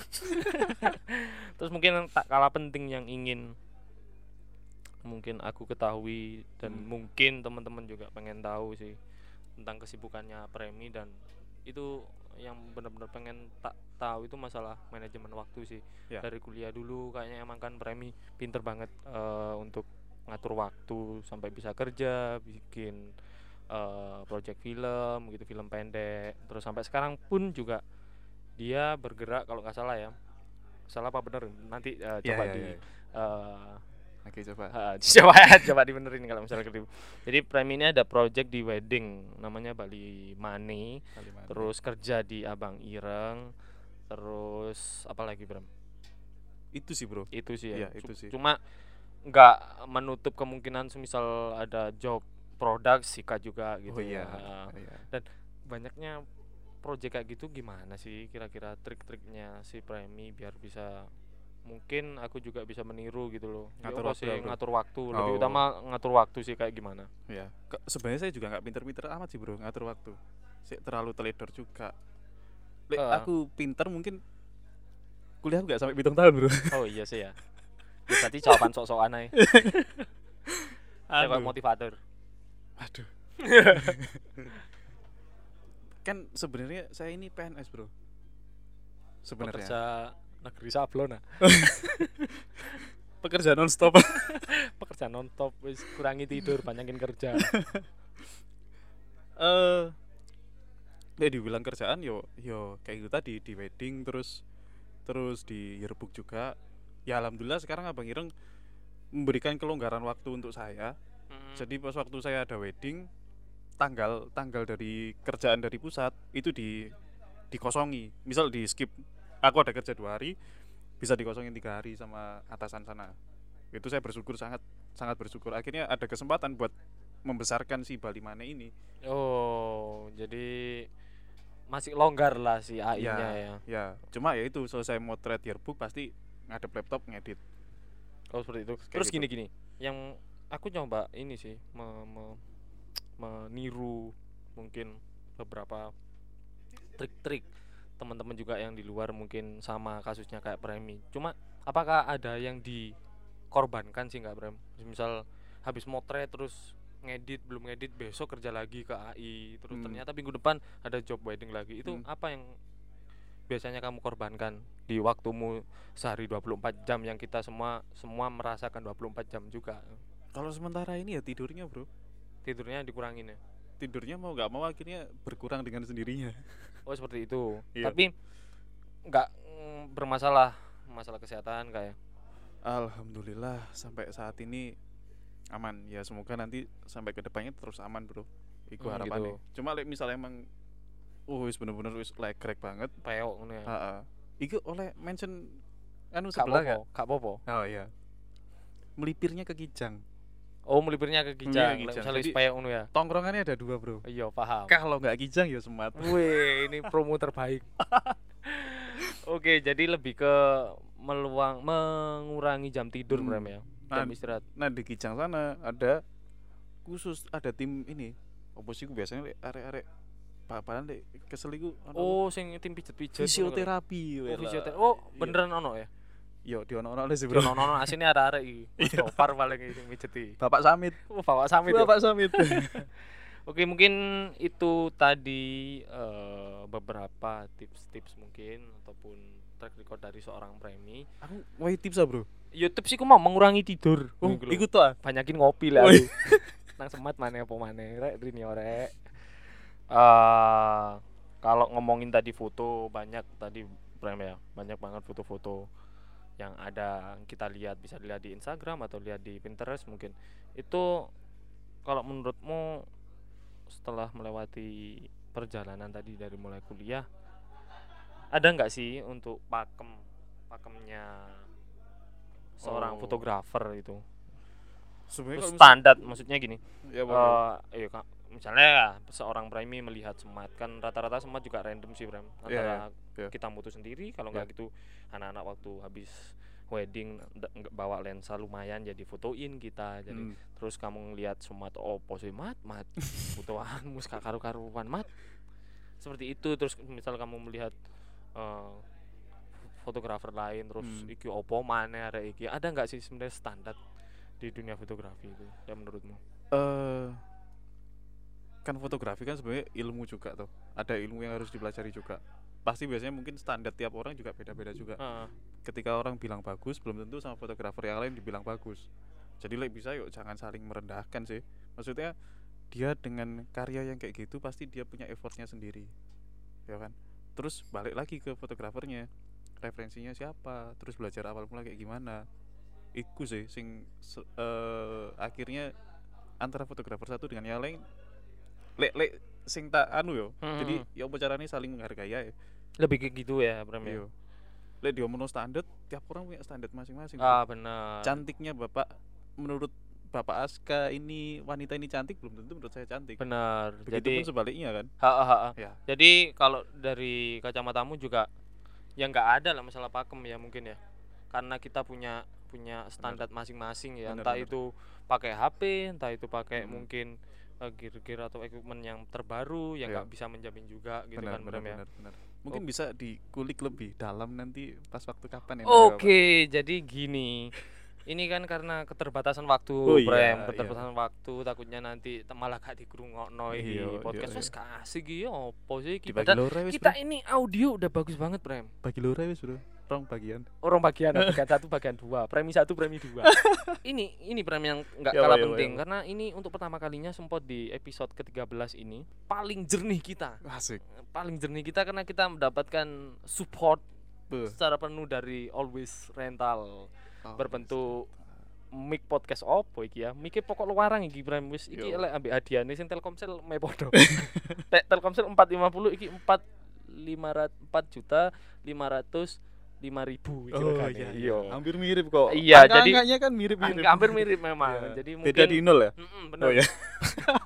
S3: <laughs> terus mungkin tak kalah penting yang ingin mungkin aku ketahui dan
S2: Hmm.
S3: mungkin teman-teman juga pengen tahu sih tentang kesibukannya premi dan itu yang benar-benar pengen tak tahu itu masalah manajemen waktu sih
S2: Ya.
S3: dari kuliah dulu kayaknya emang kan premi pinter banget eh, untuk ngatur waktu sampai bisa kerja bikin eh project film gitu film pendek terus sampai sekarang pun juga dia bergerak kalau nggak salah ya salah apa bener nanti eh,
S2: Ya,
S3: coba
S2: ya,
S3: di
S2: ya.
S3: eh, <laughs>
S2: Oke coba.
S3: Ha, <laughs> coba ya, coba dibenerin kalau misalnya keliru. Jadi Prime ini ada project di wedding namanya Bali Money,
S2: Kalimat.
S3: terus kerja di Abang Ireng, terus apa lagi Bram?
S2: itu sih bro.
S3: Itu sih ya.
S2: Iya, itu
S3: Cu-
S2: sih.
S3: Cuma nggak menutup kemungkinan semisal ada job produk Sika juga
S2: oh
S3: gitu. ya.
S2: iya.
S3: Ha.
S2: iya.
S3: Banyaknya project kayak gitu gimana sih kira-kira trik-triknya si Prime biar bisa mungkin aku juga bisa meniru gitu loh. Ya
S2: Ngatur
S3: apa
S2: waktu
S3: sih,
S2: ya, Bro?
S3: ngatur waktu, lebih
S2: Oh.
S3: utama ngatur waktu sih kayak gimana.
S2: Iya. Ke- Sebenarnya saya juga nggak pinter-pinter amat sih bro ngatur waktu. Saya terlalu teledor juga. Lek,
S3: Ah.
S2: Aku pinter mungkin kuliah nggak sampai pitung tahun bro.
S3: Oh iya sih ya. Ya, Berarti jawaban sok-sokan aja. <laughs>
S2: Aduh.
S3: Saya kayak motivator.
S2: <laughs> Aduh. kan sebenarnya saya ini PNS bro. Sebenarnya.
S3: negeri sablon nah.
S2: Pekerja non stop.
S3: Pekerja non top wis kurangi tidur, banyakin kerja.
S2: eh ya dibilang kerjaan yo yo kayak gitu tadi di wedding terus terus di yearbook juga ya alhamdulillah sekarang abang Ireng memberikan kelonggaran waktu untuk saya jadi pas waktu saya ada wedding tanggal tanggal dari kerjaan dari pusat itu di dikosongi misal di skip aku ada kerja dua hari bisa dikosongin tiga hari sama atasan sana itu saya bersyukur sangat sangat bersyukur akhirnya ada kesempatan buat membesarkan si Bali Mane ini
S3: Oh, jadi masih longgar lah si
S2: Ya.
S3: AI-nya ya.
S2: Ya, cuma ya itu selesai motret yearbook pasti ngadep laptop ngedit.
S3: Oh, seperti itu.
S2: Kayak
S3: Terus
S2: gitu.
S3: gini-gini, yang aku coba ini sih me- me- meniru mungkin beberapa trik-trik teman-teman juga yang di luar mungkin sama kasusnya kayak Premi. Cuma apakah ada yang dikorbankan sih nggak Prem? Misal habis motret terus ngedit belum ngedit besok kerja lagi ke AI terus
S2: Hmm.
S3: ternyata minggu depan ada job wedding lagi itu
S2: Hmm.
S3: apa yang biasanya kamu korbankan di waktumu sehari 24 jam yang kita semua semua merasakan 24 jam juga
S2: Kalau sementara ini ya tidurnya bro,
S3: tidurnya dikurangin ya
S2: tidurnya mau nggak mau akhirnya berkurang dengan sendirinya.
S3: oh seperti itu
S2: Iya.
S3: tapi nggak mm, bermasalah masalah kesehatan kayak
S2: Alhamdulillah sampai saat ini aman. Ya semoga nanti sampai kedepannya terus aman bro. Iku
S3: Hmm,
S2: harapannya. Cuma like, misalnya emang, uh wis bener-bener wis legrek banget.
S3: peok ngono ya
S2: Ha-ha. Iku oleh mention anu
S3: kak
S2: sebelah nggak?
S3: popo kak popo
S2: Oh iya. Melipirnya ke Kijang.
S3: oh melipirnya ke
S2: Melipirnya
S3: kijang
S2: ke
S3: lek
S2: Kijang.
S3: misalnya wis
S2: Jadi-
S3: peok ngono ya
S2: Tongkrongannya ada dua bro.
S3: iya paham
S2: Kalau nggak Kijang ya Semat.
S3: <laughs> Wih, ini promo terbaik. <laughs> Oke, jadi lebih ke meluang mengurangi jam tidur
S2: Hmm.
S3: Bram ya. Jam
S2: Nah,
S3: istirahat.
S2: Nah di Kijang sana ada khusus ada tim ini. Apa sih ku biasanya lek arek-arek paparan lek kesel iku ono
S3: Oh, sing tim pijet-pijet. ngono
S2: fisioterapi oh.
S3: kan?
S2: wela.
S3: Oh, fisioterapi. Oh,
S2: Iya.
S3: beneran ono ya?
S2: Yo diono-ono le sih bro.
S3: Ono ono asine arek-arek <laughs> iki. Wis Gopar paling iki sing mijeti.
S2: Bapak Samit.
S3: Oh, Iya. bawa samit ya.
S2: Bapak Samit.
S3: Oke, mungkin itu tadi eh, beberapa tips-tips mungkin ataupun track record dari seorang premi.
S2: <laughs> Aku wae tips ah, bro.
S3: YouTube sih ku mau mengurangi tidur.
S2: Oh,
S3: Iku lho.
S2: iku to ah.
S3: banyakin ngopi lah
S2: Wih.
S3: aku. nang semat mana apa mana rek rini orek Eh, kalau ngomongin tadi foto banyak tadi Bram ya banyak banget foto-foto yang ada kita lihat bisa dilihat di Instagram atau lihat di Pinterest mungkin itu kalau menurutmu setelah melewati perjalanan tadi dari mulai kuliah ada nggak sih untuk pakem pakemnya seorang
S2: Oh.
S3: fotografer itu
S2: Sebenarnya
S3: Terus
S2: kalau misal-
S3: standar maksudnya gini
S2: ya bro.
S3: eh iya kak misalnya ya, seorang premi melihat semat kan rata-rata semat juga random sih Bram
S2: Iya, iya, iya.
S3: antara kita mutu sendiri kalau nggak gitu anak-anak waktu habis wedding nda- nggak bawa lensa lumayan jadi fotoin kita jadi
S2: Hmm.
S3: terus kamu ngelihat semat opo sih mat <laughs> mat fotoan mus gak karu-karuan mat seperti itu terus misal kamu melihat eh, fotografer lain terus
S2: Hmm.
S3: iki opo mana arek iki ada nggak sih sebenarnya standar di dunia fotografi itu ya menurutmu
S2: Eh, kan fotografi kan sebenarnya ilmu juga tuh. Ada ilmu yang harus dipelajari juga. Pasti biasanya mungkin standar tiap orang juga beda-beda juga.
S3: Heeh.
S2: ketika orang bilang bagus belum tentu sama fotografer yang lain dibilang bagus jadi like bisa yuk jangan saling merendahkan sih maksudnya dia dengan karya yang kayak gitu pasti dia punya effortnya sendiri ya kan terus balik lagi ke fotografernya referensinya siapa terus belajar awal mula kayak gimana iku sih sing se- eh, akhirnya antara fotografer satu dengan yang lain lek lek sing tak anu yo
S3: Hmm.
S2: jadi ya apa caranya saling menghargai ae.
S3: lebih kayak gitu ya Bram ya
S2: Iya. Lek diomongno standar, tiap orang punya standar masing-masing.
S3: ah benar
S2: Cantiknya Bapak menurut Bapak Aska ini wanita ini cantik belum tentu menurut saya cantik.
S3: benar
S2: Begitupun
S3: jadi
S2: sebaliknya kan.
S3: ha, ha, ha, ha.
S2: Ya.
S3: jadi kalau dari kacamatamu juga ya nggak ada lah masalah pakem ya mungkin ya karena kita punya punya standar masing-masing ya
S2: Benar,
S3: entah
S2: benar.
S3: itu pakai HP entah itu pakai
S2: Mm.
S3: mungkin eh, gear-gear atau equipment yang terbaru yang
S2: Iya.
S3: nggak bisa menjamin juga gitu
S2: benar,
S3: kan
S2: benar,
S3: Bram ya
S2: benar, benar. Mungkin bisa dikulik lebih dalam nanti pas waktu kapan ya. Mbak
S3: Oke, jadi gini. Ini kan karena keterbatasan waktu,
S2: Oh iya,
S3: Prem.
S2: iya.
S3: Keterbatasan waktu takutnya nanti te- malah gak dikrungokno iki
S2: Iya, iya,
S3: podcast
S2: iya.
S3: wis kasih iki opo
S2: Bapak.
S3: sih iki?
S2: Dibagi
S3: Padahal
S2: lora wis.
S3: kita
S2: Bro.
S3: ini audio udah bagus banget, Prem.
S2: bagi lora wis, Bro. Rong bagian.
S3: Orang bagian bagian satu, bagian dua, premi satu, premi dua. ini ini Prem yang nggak
S2: Iya,
S3: kalah
S2: iya, iya,
S3: penting kan?
S2: iya.
S3: karena ini untuk pertama kalinya sempat di episode ke-13 ini paling jernih kita.
S2: Asik.
S3: Paling jernih kita karena kita mendapatkan support
S2: Be.
S3: secara penuh dari Always Rental.
S2: Oh,
S3: berbentuk mic podcast opo iki ya mic pokok luarang iki Bram wis iki
S2: Yo.
S3: elek ambek hadiahne sing Telkomsel
S2: <laughs>
S3: me podo Tek Telkomsel 450 iki 4 500 4 juta 500 5 ribu iki
S2: Oh
S3: regane.
S2: iya,
S3: Iya.
S2: iya. Hampir mirip kok.
S3: Iya, jadi-
S2: Angka-angkanya kan mirip-mirip.
S3: Angka hampir mirip memang
S2: Iya.
S3: jadi mungkin
S2: Beda di nol ya.
S3: Mm-mm, bener.
S2: Oh ya.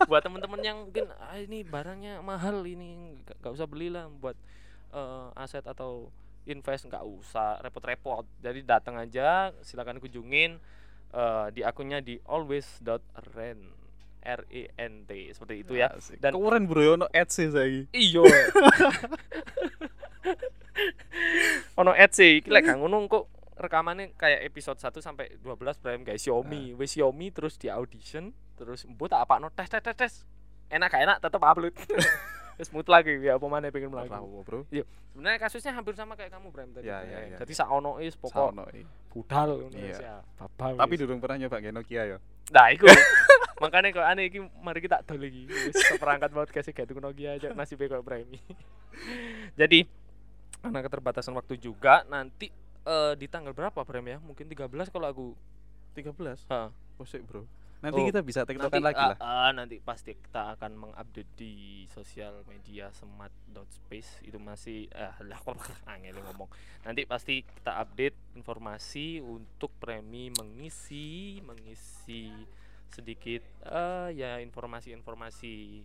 S3: buat temen-temen yang mungkin ah, ini barangnya mahal ini nggak nggak usah belilah buat eh, aset atau invest nggak usah repot-repot jadi datang aja silakan kunjungin eh, di akunnya di always.rent r e n t seperti itu ya
S2: Asik.
S3: Dan-
S2: keren bro ono ads sih saiki.
S3: iyo <laughs> ono ads sih iki lek gak Nah, ngono kok rekamannya kayak episode 1 sampai 12 Prime guys Xiaomi
S2: Nah.
S3: wis Xiaomi terus di audition terus mbok tak apakno tes tes tes tes enak gak enak tetep <laughs> upload terus mutlak iki ya apa maneh pengen mlaku
S2: Lawo, Bro.
S3: sebenarnya kasusnya hampir sama kayak kamu Prime tadi
S2: Ya,
S3: Bram,
S2: ya,
S3: ya.
S2: ya.
S3: jadi sak ono is pokok
S2: Saono, iya.
S3: budal ngono
S2: Iya.
S3: is ya babang
S2: Tapi
S3: is.
S2: durung pernah nyoba kayak Nokia ya.
S3: Nah,
S2: <laughs>
S3: iku. Makane kok aneh iki mari kita dol iki. <laughs> Wis perangkat podcast gak tukno iki aja nasibe koyo premi. <laughs> Jadi karena keterbatasan waktu juga nanti eh, di tanggal berapa Prem ya? Mungkin 13 kalau aku.
S2: 13.
S3: Ha.
S2: Posek, Bro. Nanti
S3: Oh,
S2: kita bisa
S3: Nanti
S2: tektokan lagi
S3: ah,
S2: lah.
S3: ah, nanti pasti kita akan mengupdate di sosial media smart.space itu masih ah, <laughs> lah angel ngomong. Nanti pasti kita update informasi untuk premi mengisi mengisi sedikit eh ya informasi-informasi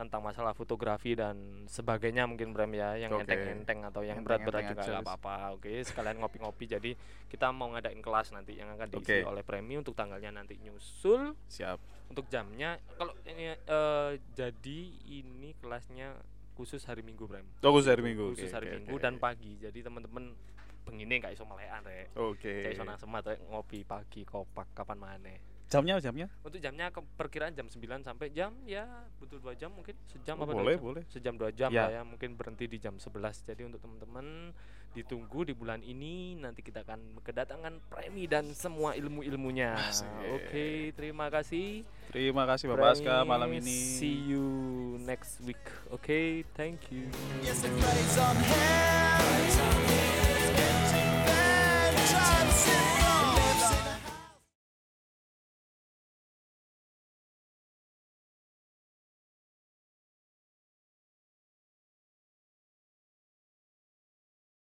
S3: tentang masalah fotografi dan sebagainya mungkin Bram ya yang
S2: Oke.
S3: enteng-enteng atau yang
S2: Enteng-enteng
S3: berat-berat juga
S2: aja,
S3: nggak
S2: wis.
S3: apa-apa oke sekalian ngopi-ngopi jadi kita mau ngadain kelas nanti yang akan diisi
S2: Oke.
S3: oleh Premi untuk tanggalnya nanti nyusul
S2: Siap.
S3: untuk jamnya kalau ini eh, jadi ini kelasnya khusus hari Minggu Bram
S2: Oh, khusus hari Minggu.
S3: khusus
S2: Oke,
S3: hari
S2: oke,
S3: Minggu
S2: oke.
S3: dan pagi jadi teman-teman pengine nggak iso melekan rek
S2: Oke.
S3: Nggak iso nang semat rek ngopi pagi kopak kapan maneh
S2: Jamnya jamnya?
S3: untuk jamnya ke- perkiraan jam 9 sampai jam ya butuh dua jam mungkin sejam
S2: Oh,
S3: apa dua
S2: boleh,
S3: jam?
S2: boleh.
S3: sejam dua jam
S2: Ya.
S3: lah ya mungkin berhenti di jam 11 jadi untuk teman-teman ditunggu di bulan ini nanti kita akan kedatangan premi dan semua ilmu-ilmunya
S2: Asik.
S3: oke terima kasih
S2: Ah, Terima kasih Bapak Aska
S3: Friends,
S2: malam ini.
S3: See you next week. Okay, thank you.
S4: Yes, it rains on hell.